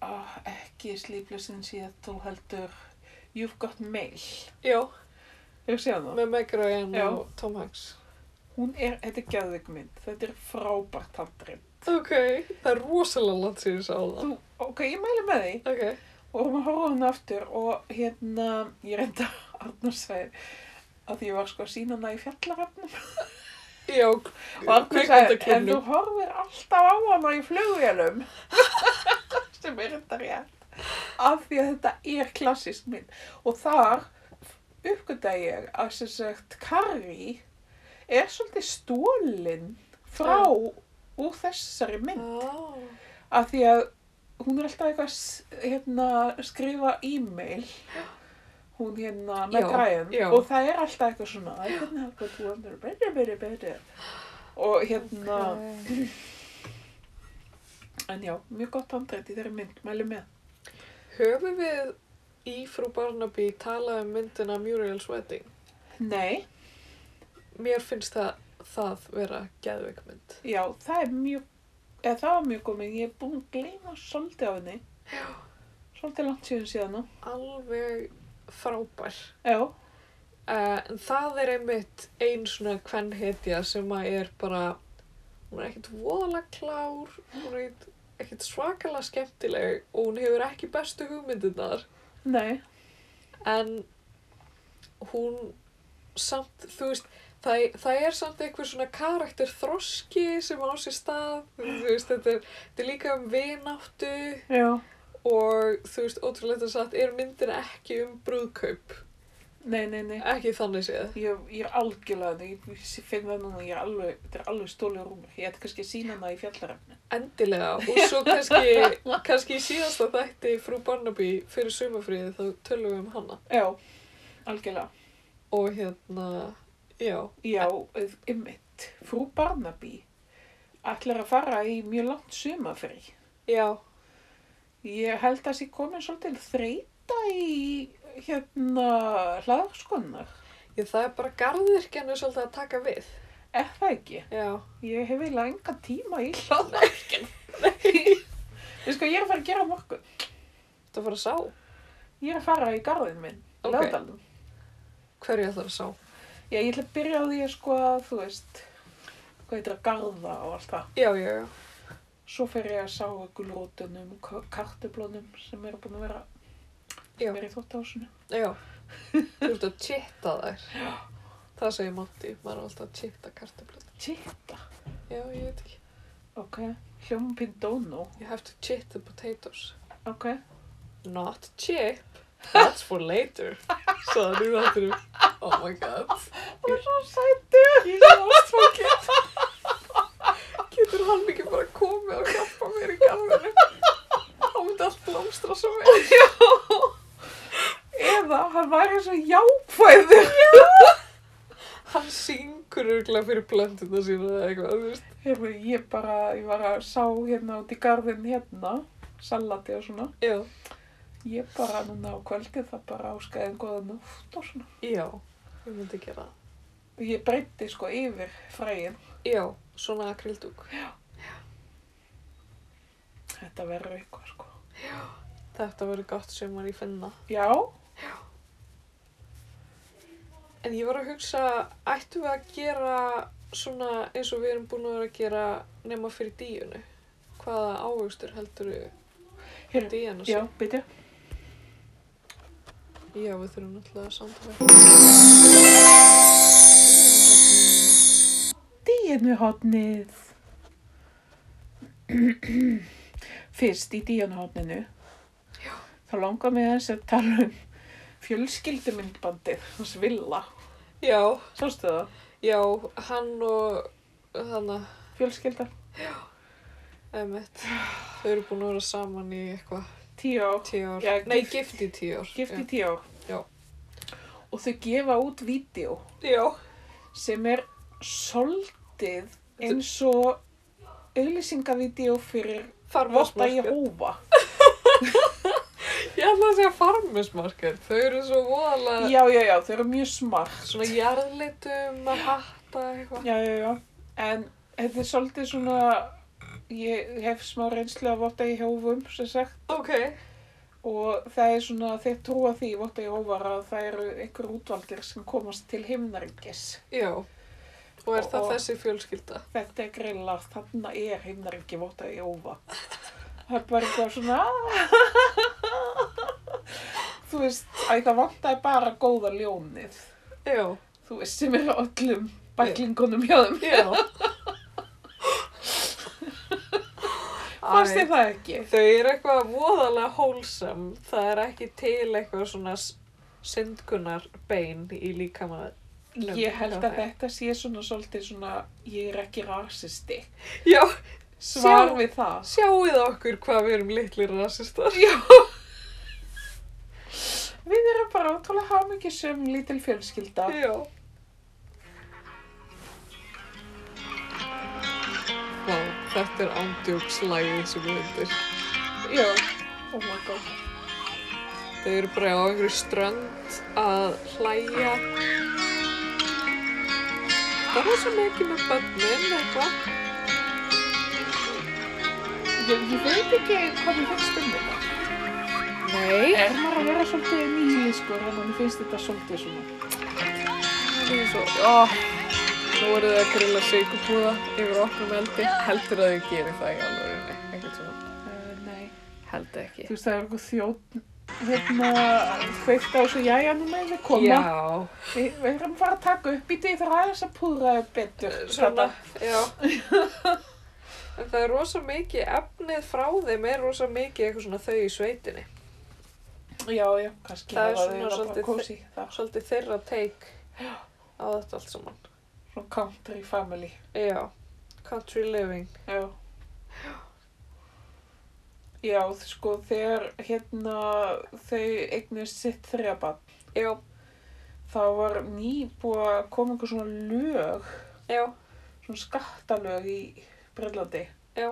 S2: ah, ekki Sleepless in Seattle heldur, You've Got Mail,
S1: já,
S2: hefur séð það?
S1: með Meg Ryan
S2: Já.
S1: og Tom Hanks.
S2: Hún er, þetta er gæðveik mynd, þetta er frábært handrið.
S1: Ok, það er rosalega langt sér ég sá það.
S2: Þú, ok, ég mæli með því
S1: Ok,
S2: og erum að horfa á hún aftur og hérna, ég reynda Arnarsveig að því ég var sko að sína hana í fjallarafnum
S1: já,
S2: og Arnar sagði, en þú
S1: kvikmyndaklubnum.
S2: horfir alltaf á hana í flugvélum sem er þetta rétt af því að þetta er klassisk mynd og þar uppgönda ég að sem sagt Carrie er svolítið stólin frá úr þessari mynd
S1: Ah.
S2: af því að hún er alltaf eitthvað s- hérna, skrifa e-mail hún hérna með
S1: Já,
S2: græðum
S1: já.
S2: og það er alltaf eitthvað svona I couldn't help but wonder better, better, better og hérna
S1: Ok.
S2: en já, mjög gott handrætt í þeirri mynd mæli með
S1: Höfum við í frú Barnaby talað um myndina Muriel's Wedding?
S2: nei,
S1: Mér finnst það, það vera geðveik mynd.
S2: já, það er mjög eða það var mjög komið, ég er búin að gleyma svolítið af henni svolítið langt síðan síðan nú
S1: Alveg frábær.
S2: já,
S1: Uh, en það er einmitt ein svona kvennhetja sem að er bara, hún er ekkert voðalega klár, hún er ekkert, ekkert svakalega skemmtileg og hún hefur ekki bestu hugmyndirnar.
S2: nei,
S1: En hún samt, þú veist, það, það er samt einhver svona karakter þroski sem á sér stað, þú veist, þetta er, þetta er líka um vináttu
S2: já,
S1: og þú veist, ótrúlega þetta satt, er myndin ekki um brúðkaup,
S2: nei, nei, nei
S1: ekki þannig séð.
S2: Ég, ég er algjörlega, ég ég finn það núna, ég er alveg, þetta er alveg stólið rúmur. Ég ætti kannski að sína hana í fjallarefni.
S1: Endilega og svo kannski, kannski í síðasta þætti frú Barnaby fyrir sumafríði þá tölum við um hana
S2: Já, algjörlega.
S1: og hérna, já,
S2: Já, eh, einmitt, frú Barnaby ætlar að fara í mjög langt sumafri.
S1: já,
S2: Ég held að sé komin svolítið þreita í hérna hlaðarskonar.
S1: ég, það er bara garðirkjanu svolítið að taka við,
S2: Er það ekki?
S1: já,
S2: Ég hef eiginlega engan tíma í hlaðarskonar. Nei. Þú sko, ég er að fara að gera á morgun.
S1: það fara að sá,
S2: Ég er að fara í garðin minn,
S1: Ok.
S2: okay. löðalum.
S1: hverju það að sá.
S2: Já, ég ætla að byrja á því að sko að, þú veist, hvað heitir að garða og allt það.
S1: Já, já, já,
S2: Svo fer ég að sá gulrótunum, kartublónum sem eru búin að vera,
S1: Já.
S2: sem eru í þóttahúsinu.
S1: já, þú ert að chitta þær, það segir Matti, maður er alltaf að chitta kartablöð,
S2: Chitta,
S1: já, ég veit ekki,
S2: ok, hljóma pindónu,
S1: you have to chit the potatoes.
S2: ok.
S1: Not chip. That's for later. Svo það nú þátturum. Oh my god.
S2: Það er svo sætur.
S1: Ég er ástfangin. Getur hann ekki bara komið og hjálpa mér í garðinu? Þá myndi allt blómstra svo vel.
S2: Eða hann væri svo jákvæður.
S1: Hann syngur örgulega fyrir plöntuna sína eða eitthvað, þú veist.
S2: Heyrðu, ég bara, ég var að sá hérna út í garðin hérna, salati og svona.
S1: Já.
S2: Ég bara núna á kvöldið það bara áskaði en góða nótt og svona.
S1: Já, ég myndi gera það.
S2: Ég breytti sko yfir fræin.
S1: Já, svona akrildúk.
S2: Þetta verður eitthvað sko.
S1: Þetta verður gott sem var í finna.
S2: Já,
S1: En ég var að hugsa, ættum við að gera svona eins og við erum búin að vera að gera nema fyrir díunu? Hvaða ávegstur heldur við
S2: Heyrðu,
S1: díjana
S2: já, byrja.
S1: Já, við þurfum náttúrulega að samtala.
S2: Díanuhotnið. Fyrst í díanuhotninu. Já. Þá langar mig aðeins að tala um fjölskyldumyndbandið hans Villa.
S1: Já,
S2: Sástu það?
S1: já, hann og þannig
S2: Fjölskylda.
S1: að mitt, þau eru búin að vera saman í eitthvað
S2: Tíu ár.
S1: tíu ár.
S2: Já,
S1: Nei,
S2: gift-
S1: gift í tíu ár.
S2: Gift í tíu ár.
S1: Já.
S2: Og þau gefa út vídeo
S1: Já.
S2: sem er soldið eins og auðlýsingavídeó fyrir Votta
S1: Farmarsmarkað.
S2: Jehóva.
S1: Ég ætla að segja farmersmarkað. Þau eru svo voðalega
S2: Já, já, já, þau eru mjög smart.
S1: svona jarðlitum að hatta eitthvað.
S2: Já, já, já. En þetta er svolítið svona, ég hef smá reynslu að Votta Jehóvum, sem sagt,
S1: Ok.
S2: og það er svona, þeir trúa því Votta Jehóvar að það eru einhver útvaldir sem komast til himnaríkis.
S1: Já. Og er það
S2: Og-
S1: þessi fjölskylda?
S2: Þetta er greinlega, þarna er himnaríki Votta Jehóva. Það er bara eitthvað svona, "Ah." þú veist, að það vantaði bara góða ljónið,
S1: Já.
S2: þú veist, sem er á öllum bæklingunum hjá þeim.
S1: Já.
S2: Fannst þið það ekki?
S1: Þau eru eitthvað voðalega hólsam. Það er ekki til eitthvað svona syndkunar bein í líkamann. Lömb-
S2: Ég held
S1: já,
S2: að þetta sé svona svolítið svona, ég er ekki rasisti.
S1: Já,
S2: Svar
S1: Sjá-
S2: við það.
S1: sjáuð okkur hvað við erum litlir rasistar.
S2: Já. Við erum bara ótrúlega hamingisum lítil fjölskylda.
S1: Já. Vá, þetta er ándjókslægið sem við undir.
S2: Já. Oh my god.
S1: Þau eru bara á einhverju strönd að hlæja. Það var svo mikið með bönnin eitthvað.
S2: Ég, ég veit ekki hvað mér finnst um þetta.
S1: Nei.
S2: Er maður að vera svolítið nýlískur sko, en mér finnst þetta svolítið svona.
S1: Það er svo, ó, nú eru þau að grilla sigurbúða yfir opnum eldi. Heldur að þau gerir það í alvörunni, ekkert svona.
S2: Uh, nei.
S1: Held ekki.
S2: Þú veist það er eitthvað þjótt, hérna, kveikt á þessu jæja núna eða koma.
S1: Já,
S2: Við, við erum bara að taka upp í því þar aðeins að púðra upp betur.
S1: svona,
S2: þetta.
S1: já. En það er rosa mikið, efnið frá þeim er rosa mikið eitthvað svona þau í sveitinni.
S2: Já, já, kannski
S1: Það
S2: hafa þau
S1: er svona
S2: verið bara
S1: svolítið
S2: kósí þar.
S1: Svolítið þeirra teik á þetta allt saman.
S2: Svona country family.
S1: Já, country living.
S2: Já. Já, þ- sko, þegar hérna þau eignist sitt þrejabann,
S1: Já,
S2: þá var nýbúið að koma einhver svona lög,
S1: já,
S2: svona skattalög í Breitlandi,
S1: já.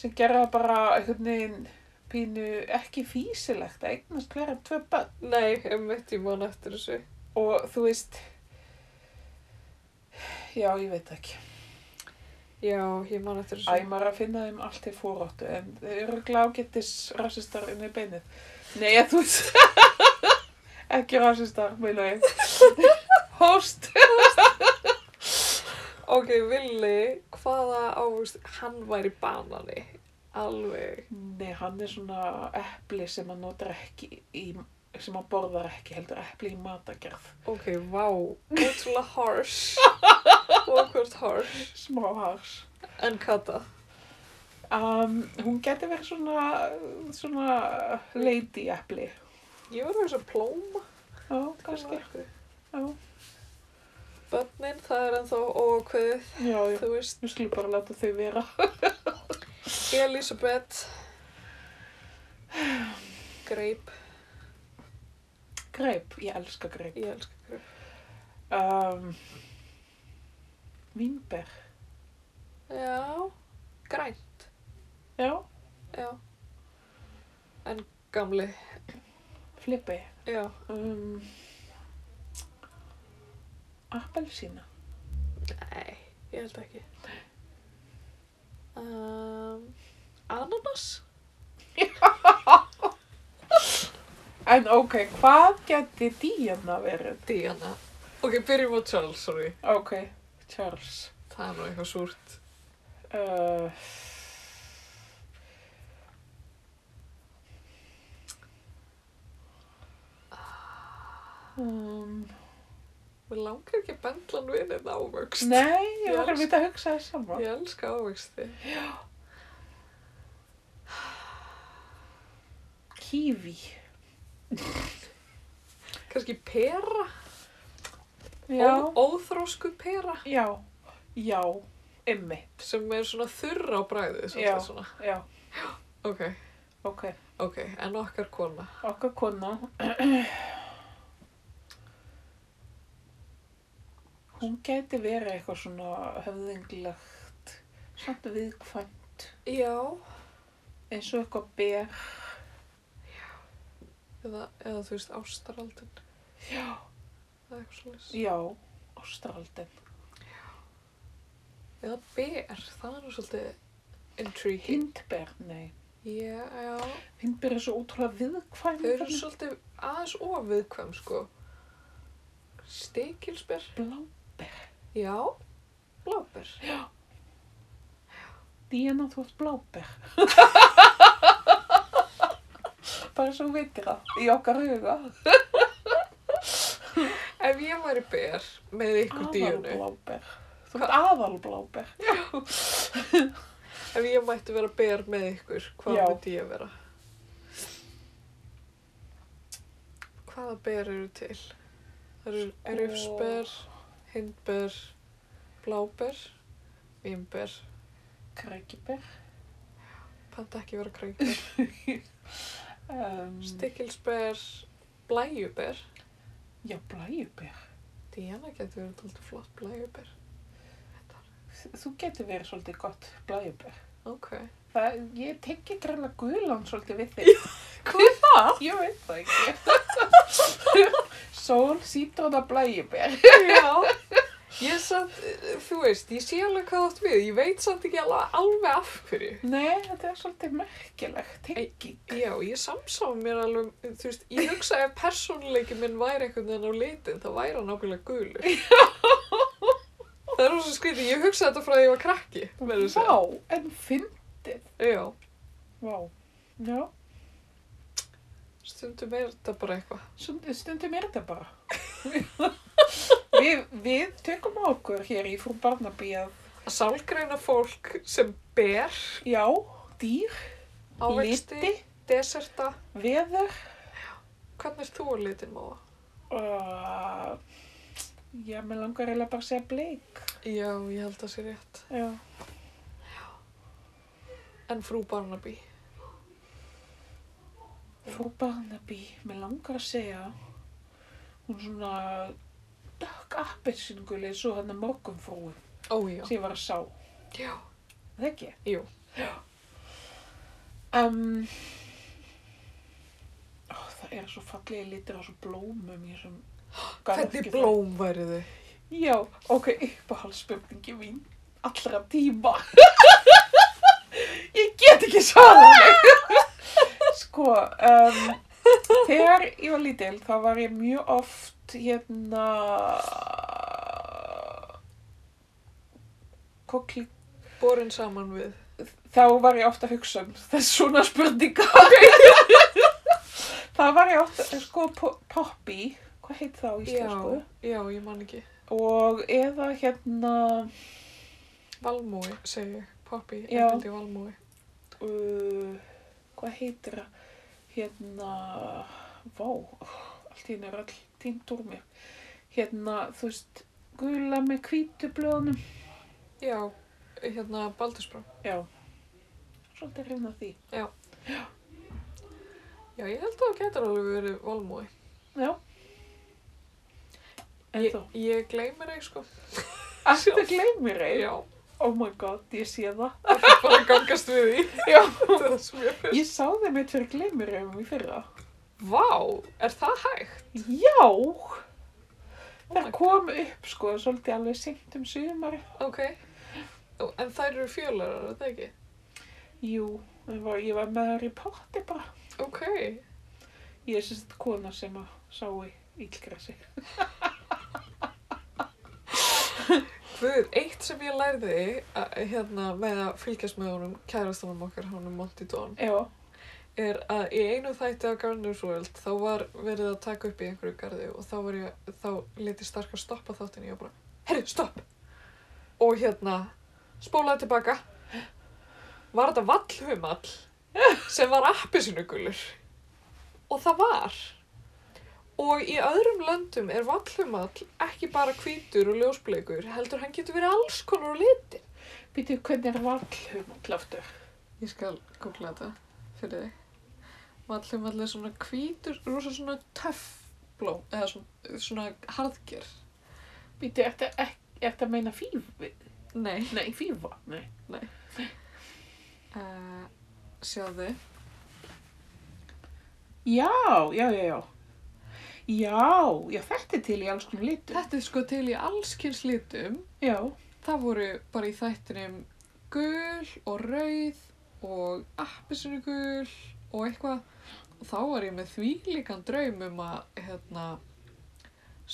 S2: sem gerða bara einhvern veginn pínu ekki físilegt að eignast hverja tvö börn.
S1: Nei, um mitt ég man eftir þessu.
S2: Og þú veist, já, ég veit ekki.
S1: Já, ég man eftir
S2: Æ,
S1: þessu.
S2: maður er að finna þeim allt til fóráttu en þau eru glágettis rasistar inn í beinið. Nei, ég, þú veist, ekki rasistar, meina ég. Hóst.
S1: Ok, Willi, hvaða ávist, hann væri banani. Alveg.
S2: Nei, hann er svona epli sem hann notar ekki í, sem hann borðar ekki, heldur epli í matagerð.
S1: Ok, vá, ótrúlega harsh. Awkward harsh.
S2: Smá hars.
S1: En kata.
S2: Um, hún geti verið svona, svona lady epli.
S1: Ég var að þessu plóma.
S2: Já, kannski. Já.
S1: börnin, það er ennþá ókveðið,
S2: Já, já.
S1: þú veist,
S2: Nú skulum bara láta þau vera.
S1: Elisabeth, greip,
S2: Greip, ég elska greip.
S1: ég elska greip,
S2: Um, Vínber,
S1: já, grænt,
S2: já.
S1: já, en gamli,
S2: Flippi.
S1: já,
S2: Um, Appelsína.
S1: nei, ég held ekki. Um, ananas?
S2: En ok, hvað geti Díana verið?
S1: Diana. Ok, byrjum á Charles, sorry.
S2: Ok, Charles.
S1: Það er nú eitthvað súrt.
S2: Uh, um,
S1: Mér langar ekki að bendla hann við einn ávöxt.
S2: nei, ég var
S1: Charles.
S2: að vita að hugsa það saman.
S1: Ég elska ávöxti.
S2: Kífi.
S1: Kanski pera?
S2: Já,
S1: Ó, óþrósku pera?
S2: já, já, ymmit,
S1: Sem er svona þurra á bræðið, svona
S2: Já.
S1: svona.
S2: já,
S1: Ok,
S2: ok.
S1: ok, en okkar kona.
S2: Okkar kona Hún gæti verið eitthvað svona höfðinglegt samt viðkvæmt
S1: Já.
S2: eins og eitthvað ber
S1: Eða, eða þú veist, ástaraldin.
S2: Já.
S1: Það er eitthvað svona.
S2: Já, ástraldin
S1: Eða ber, það er nú svolítið intriguing.
S2: Hindber, nei
S1: Já, já.
S2: Hindber er svo ótrúlega viðkvæmt
S1: Þau eru svolítið aðeins ofiðkvæm, sko. Stekilsber?
S2: blá
S1: Já. Bláber?
S2: Díana, þú ert bláber Bara svo þú veitir það í okkar huga
S1: Ef ég væri ber með ykkur
S2: Ah,
S1: díunu,
S2: Aðalbláber Þú ert aðalbláber
S1: ef ég mætti vera ber með ykkur, hvað
S2: Já.
S1: myndi ég vera? Hvaða ber eru til? Það eru
S2: Sko.
S1: rufsber, hindber, bláber, vimber,
S2: Krækiber
S1: panta ekki vera krækber,
S2: Um,
S1: stikilsber, blæjuber.
S2: já, blæjuber.
S1: Diana getur verið tóltu flott blæjuber.
S2: Þú getur verið svolítið gott blæjuber.
S1: Ok.
S2: Það, ég tengi greinlega gulan svolítið við þig. Hvað er það? Ég veit það ekki. Sól, sítróna, blæjuber.
S1: Já, ég samt, þú veist, ég sé alveg hvað átt við, ég veit samt ekki alveg, alveg af hverju.
S2: Nei, þetta er svolítið merkilegt. Tengi.
S1: Já, ég samsáð mér alveg, þú veist, ég hugsa ef persónuleiki minn væri einhvern veginn á litin, þá væri hann ákveðlega gulur. Það er rosa skrítið, ég hugsa þetta frá því ég var krakki, verður að segja.
S2: Vá, en fyndið.
S1: Já,
S2: Vá. Já,
S1: stundum er þetta bara eitthvað.
S2: stund- stundum er þetta bara. við, við tökum á okkur hér í frú Barnaby að,
S1: Að sálgreina fólk sem ber
S2: já, dýr,
S1: ávexti,
S2: liti,
S1: deserta,
S2: veður,
S1: hvernig er þú á litin, Móa?
S2: Uh, já, mér langar eiginlega bara að segja bleik.
S1: Já, ég held að sé rétt.
S2: Já.
S1: En frú Barnaby?
S2: Frú Barnaby, mér langar að segja, hún er svona dökk appelsingul eins og hann er morgunfrúin
S1: Ó, já.
S2: sem ég var að sá.
S1: Já.
S2: Er Það ekki?
S1: Jú.
S2: Um, ó, það er svo fallegi litir á svo blómum í þessum
S1: Hvernig blóm væri þau?
S2: Já, ok, uppáhaldsspurningi mín allra tíma. Ég get ekki svarað mig. Sko, um, þegar ég var lítil þá var ég mjög oft hérna kokli
S1: Borin saman við.
S2: þá var ég ofta að hugsa um þess svona spurninga okay. þá var ég ofta sko po- Poppy hvað heit það á íslensku
S1: Já, ég man ekki.
S2: og eða hérna
S1: Valmói, segi ég. Poppy,
S2: Já.
S1: ég held ég Valmói.
S2: uh, hvað heitir það hérna vá, allt í henni er all tínt úr mér hérna, þú veist gula með hvítu blöðunum.
S1: Já, hérna Baldursbrá.
S2: Já. Svolítið hrifin af því.
S1: Já, ég held að það getur alveg verið Valmói.
S2: Já. En
S1: Ég,
S2: þó.
S1: ég gleymir þig, sko.
S2: Alltaf gleymir ei.
S1: Já,
S2: Oh my god, ég sé það.
S1: bara að gangast við því.
S2: Já.
S1: Þetta er það sem ég finnst.
S2: Ég sá þeim eitt fyrir gleymir ei um í fyrra.
S1: Vá, er það hægt?
S2: Já.
S1: Oh
S2: Þær
S1: my
S2: kom upp sko, svolítið alveg seint um sumar.
S1: Ok. Ó, En þær eru fjölarar, er það ekki?
S2: Jú, ég var, ég var með Harry Potter bara.
S1: Ok.
S2: Ég er sérst kona sem að sá í ílgrasi.
S1: Guð, eitt sem ég lærði að, hérna, með að fylgjast með honum, kærastanum okkar, honum Monty Don,
S2: Já.
S1: er að í einu þætti af Gardeners World þá var verið að taka upp í einhverju garði og þá var ég, þá leti starka stoppa þáttinu, ég var bara, herru, stopp! Og hérna, spólaði tilbaka, var þetta vallhumall sem var appisinugulur og það var. Og í öðrum löndum er vallhumall ekki bara hvítur og ljósbleikur, heldur hann getur verið alls konar og liti.
S2: Býtu, hvernig er vallum allaftur?
S1: Ég skal googla þetta fyrir þig. Vallum allir svona hvítur, rosa svona töff blóm, eða svona, svona harðger.
S2: Býtu, ertu ekki- ertu að meina fífi?
S1: Nei.
S2: Nei, fífa. Nei.
S1: Uh, sjáðu.
S2: Já, já, já, já. Já, já, þetta er til í alls konar litum.
S1: Þetta er sko til í allskins litum.
S2: Já,
S1: Það voru bara í þættinum gul og rauð og appisinu gul og eitthvað. Og þá var ég með þvílíkan draum um að, hérna,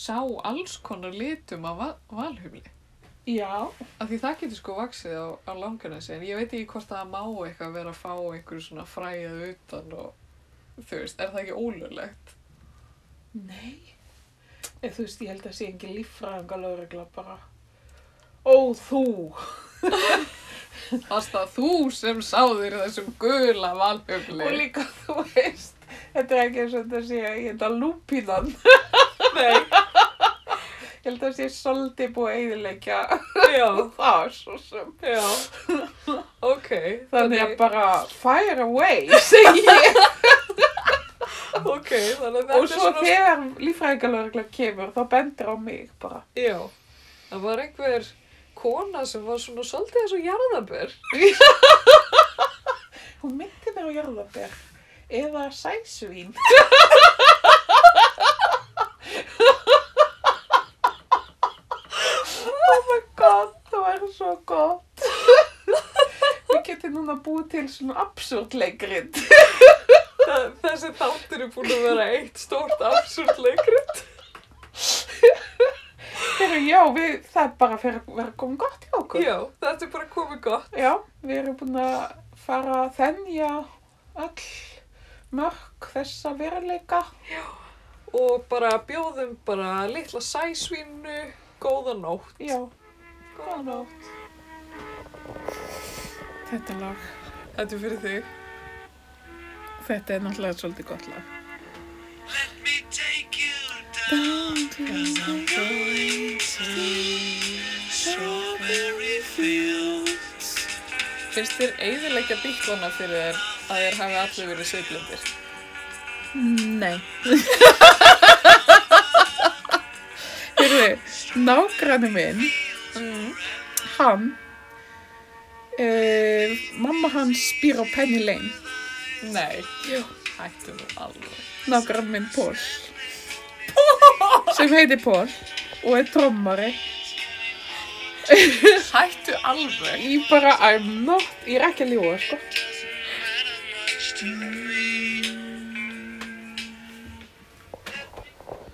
S1: sá alls konar litum af va- valhumli.
S2: já,
S1: Af því það getur sko vaksið á, á langanesi en ég veit ekki hvort það má eitthvað vera að fá einhverju svona fræðið utan og þú veist, er það ekki ólulegt?
S2: nei. Eða, þú veist, ég held að sé engin líffræðinga lögregla bara. Ó, þú.
S1: Fast það þú sem sáðir þessum gula
S2: Og
S1: valhjöfli.
S2: líka, þú veist, þetta er ekki eins og þetta sé, ég held að lúpínan.
S1: Nei,
S2: Ég held að sé svolítið búið að eyðileggja
S1: já,
S2: það, svo sem.
S1: já, ok.
S2: Þannig að bara fire away, segi ég.
S1: Ok, þannig að þetta
S2: Og
S1: er
S2: svo
S1: svona...
S2: þegar líffræðingalögregla kemur, þá bendir á mig bara.
S1: Já, það var einhver kona sem var svona svolítið eins og jarðabur.
S2: Hún myndi mér á jarðabér eða sæsvín. oh my god, það var svo gott. Við getum núna búið til svona absúrt leikrit.
S1: Það, þessi þáttir er búin að vera eitt stórt absúrt leikrit.
S2: Þegar já, við, það er bara fyrir að vera komið gott hjá okkur.
S1: Já, þetta er bara komið gott.
S2: Já, við erum búin að fara að þennja all mörg þessa veruleika.
S1: og bara bjóðum bara litla sæsvínu góða nótt
S2: Já, góða nótt. Þetta lag.
S1: Þetta er fyrir þig
S2: Þetta er náttúrulega svolítið gott lag.
S3: Let me take you down, cause I'm going to strawberry fields.
S1: Finnst þér eigðilegja bíklana fyrir þér að þér hafi allir verið sveiflendir?
S2: Nei. Hörru, nágrannu minn,
S1: Mm.
S2: hann, uh, mamma hans býr á Penny Lane,
S1: Nei Já Hættu nú alveg
S2: nágrannu minn Pól, sem heitir Pól og er trommari.
S1: Hættu alveg
S2: Ég bara, I'm not, ég er ekki að lífa, sko.
S3: Strawberry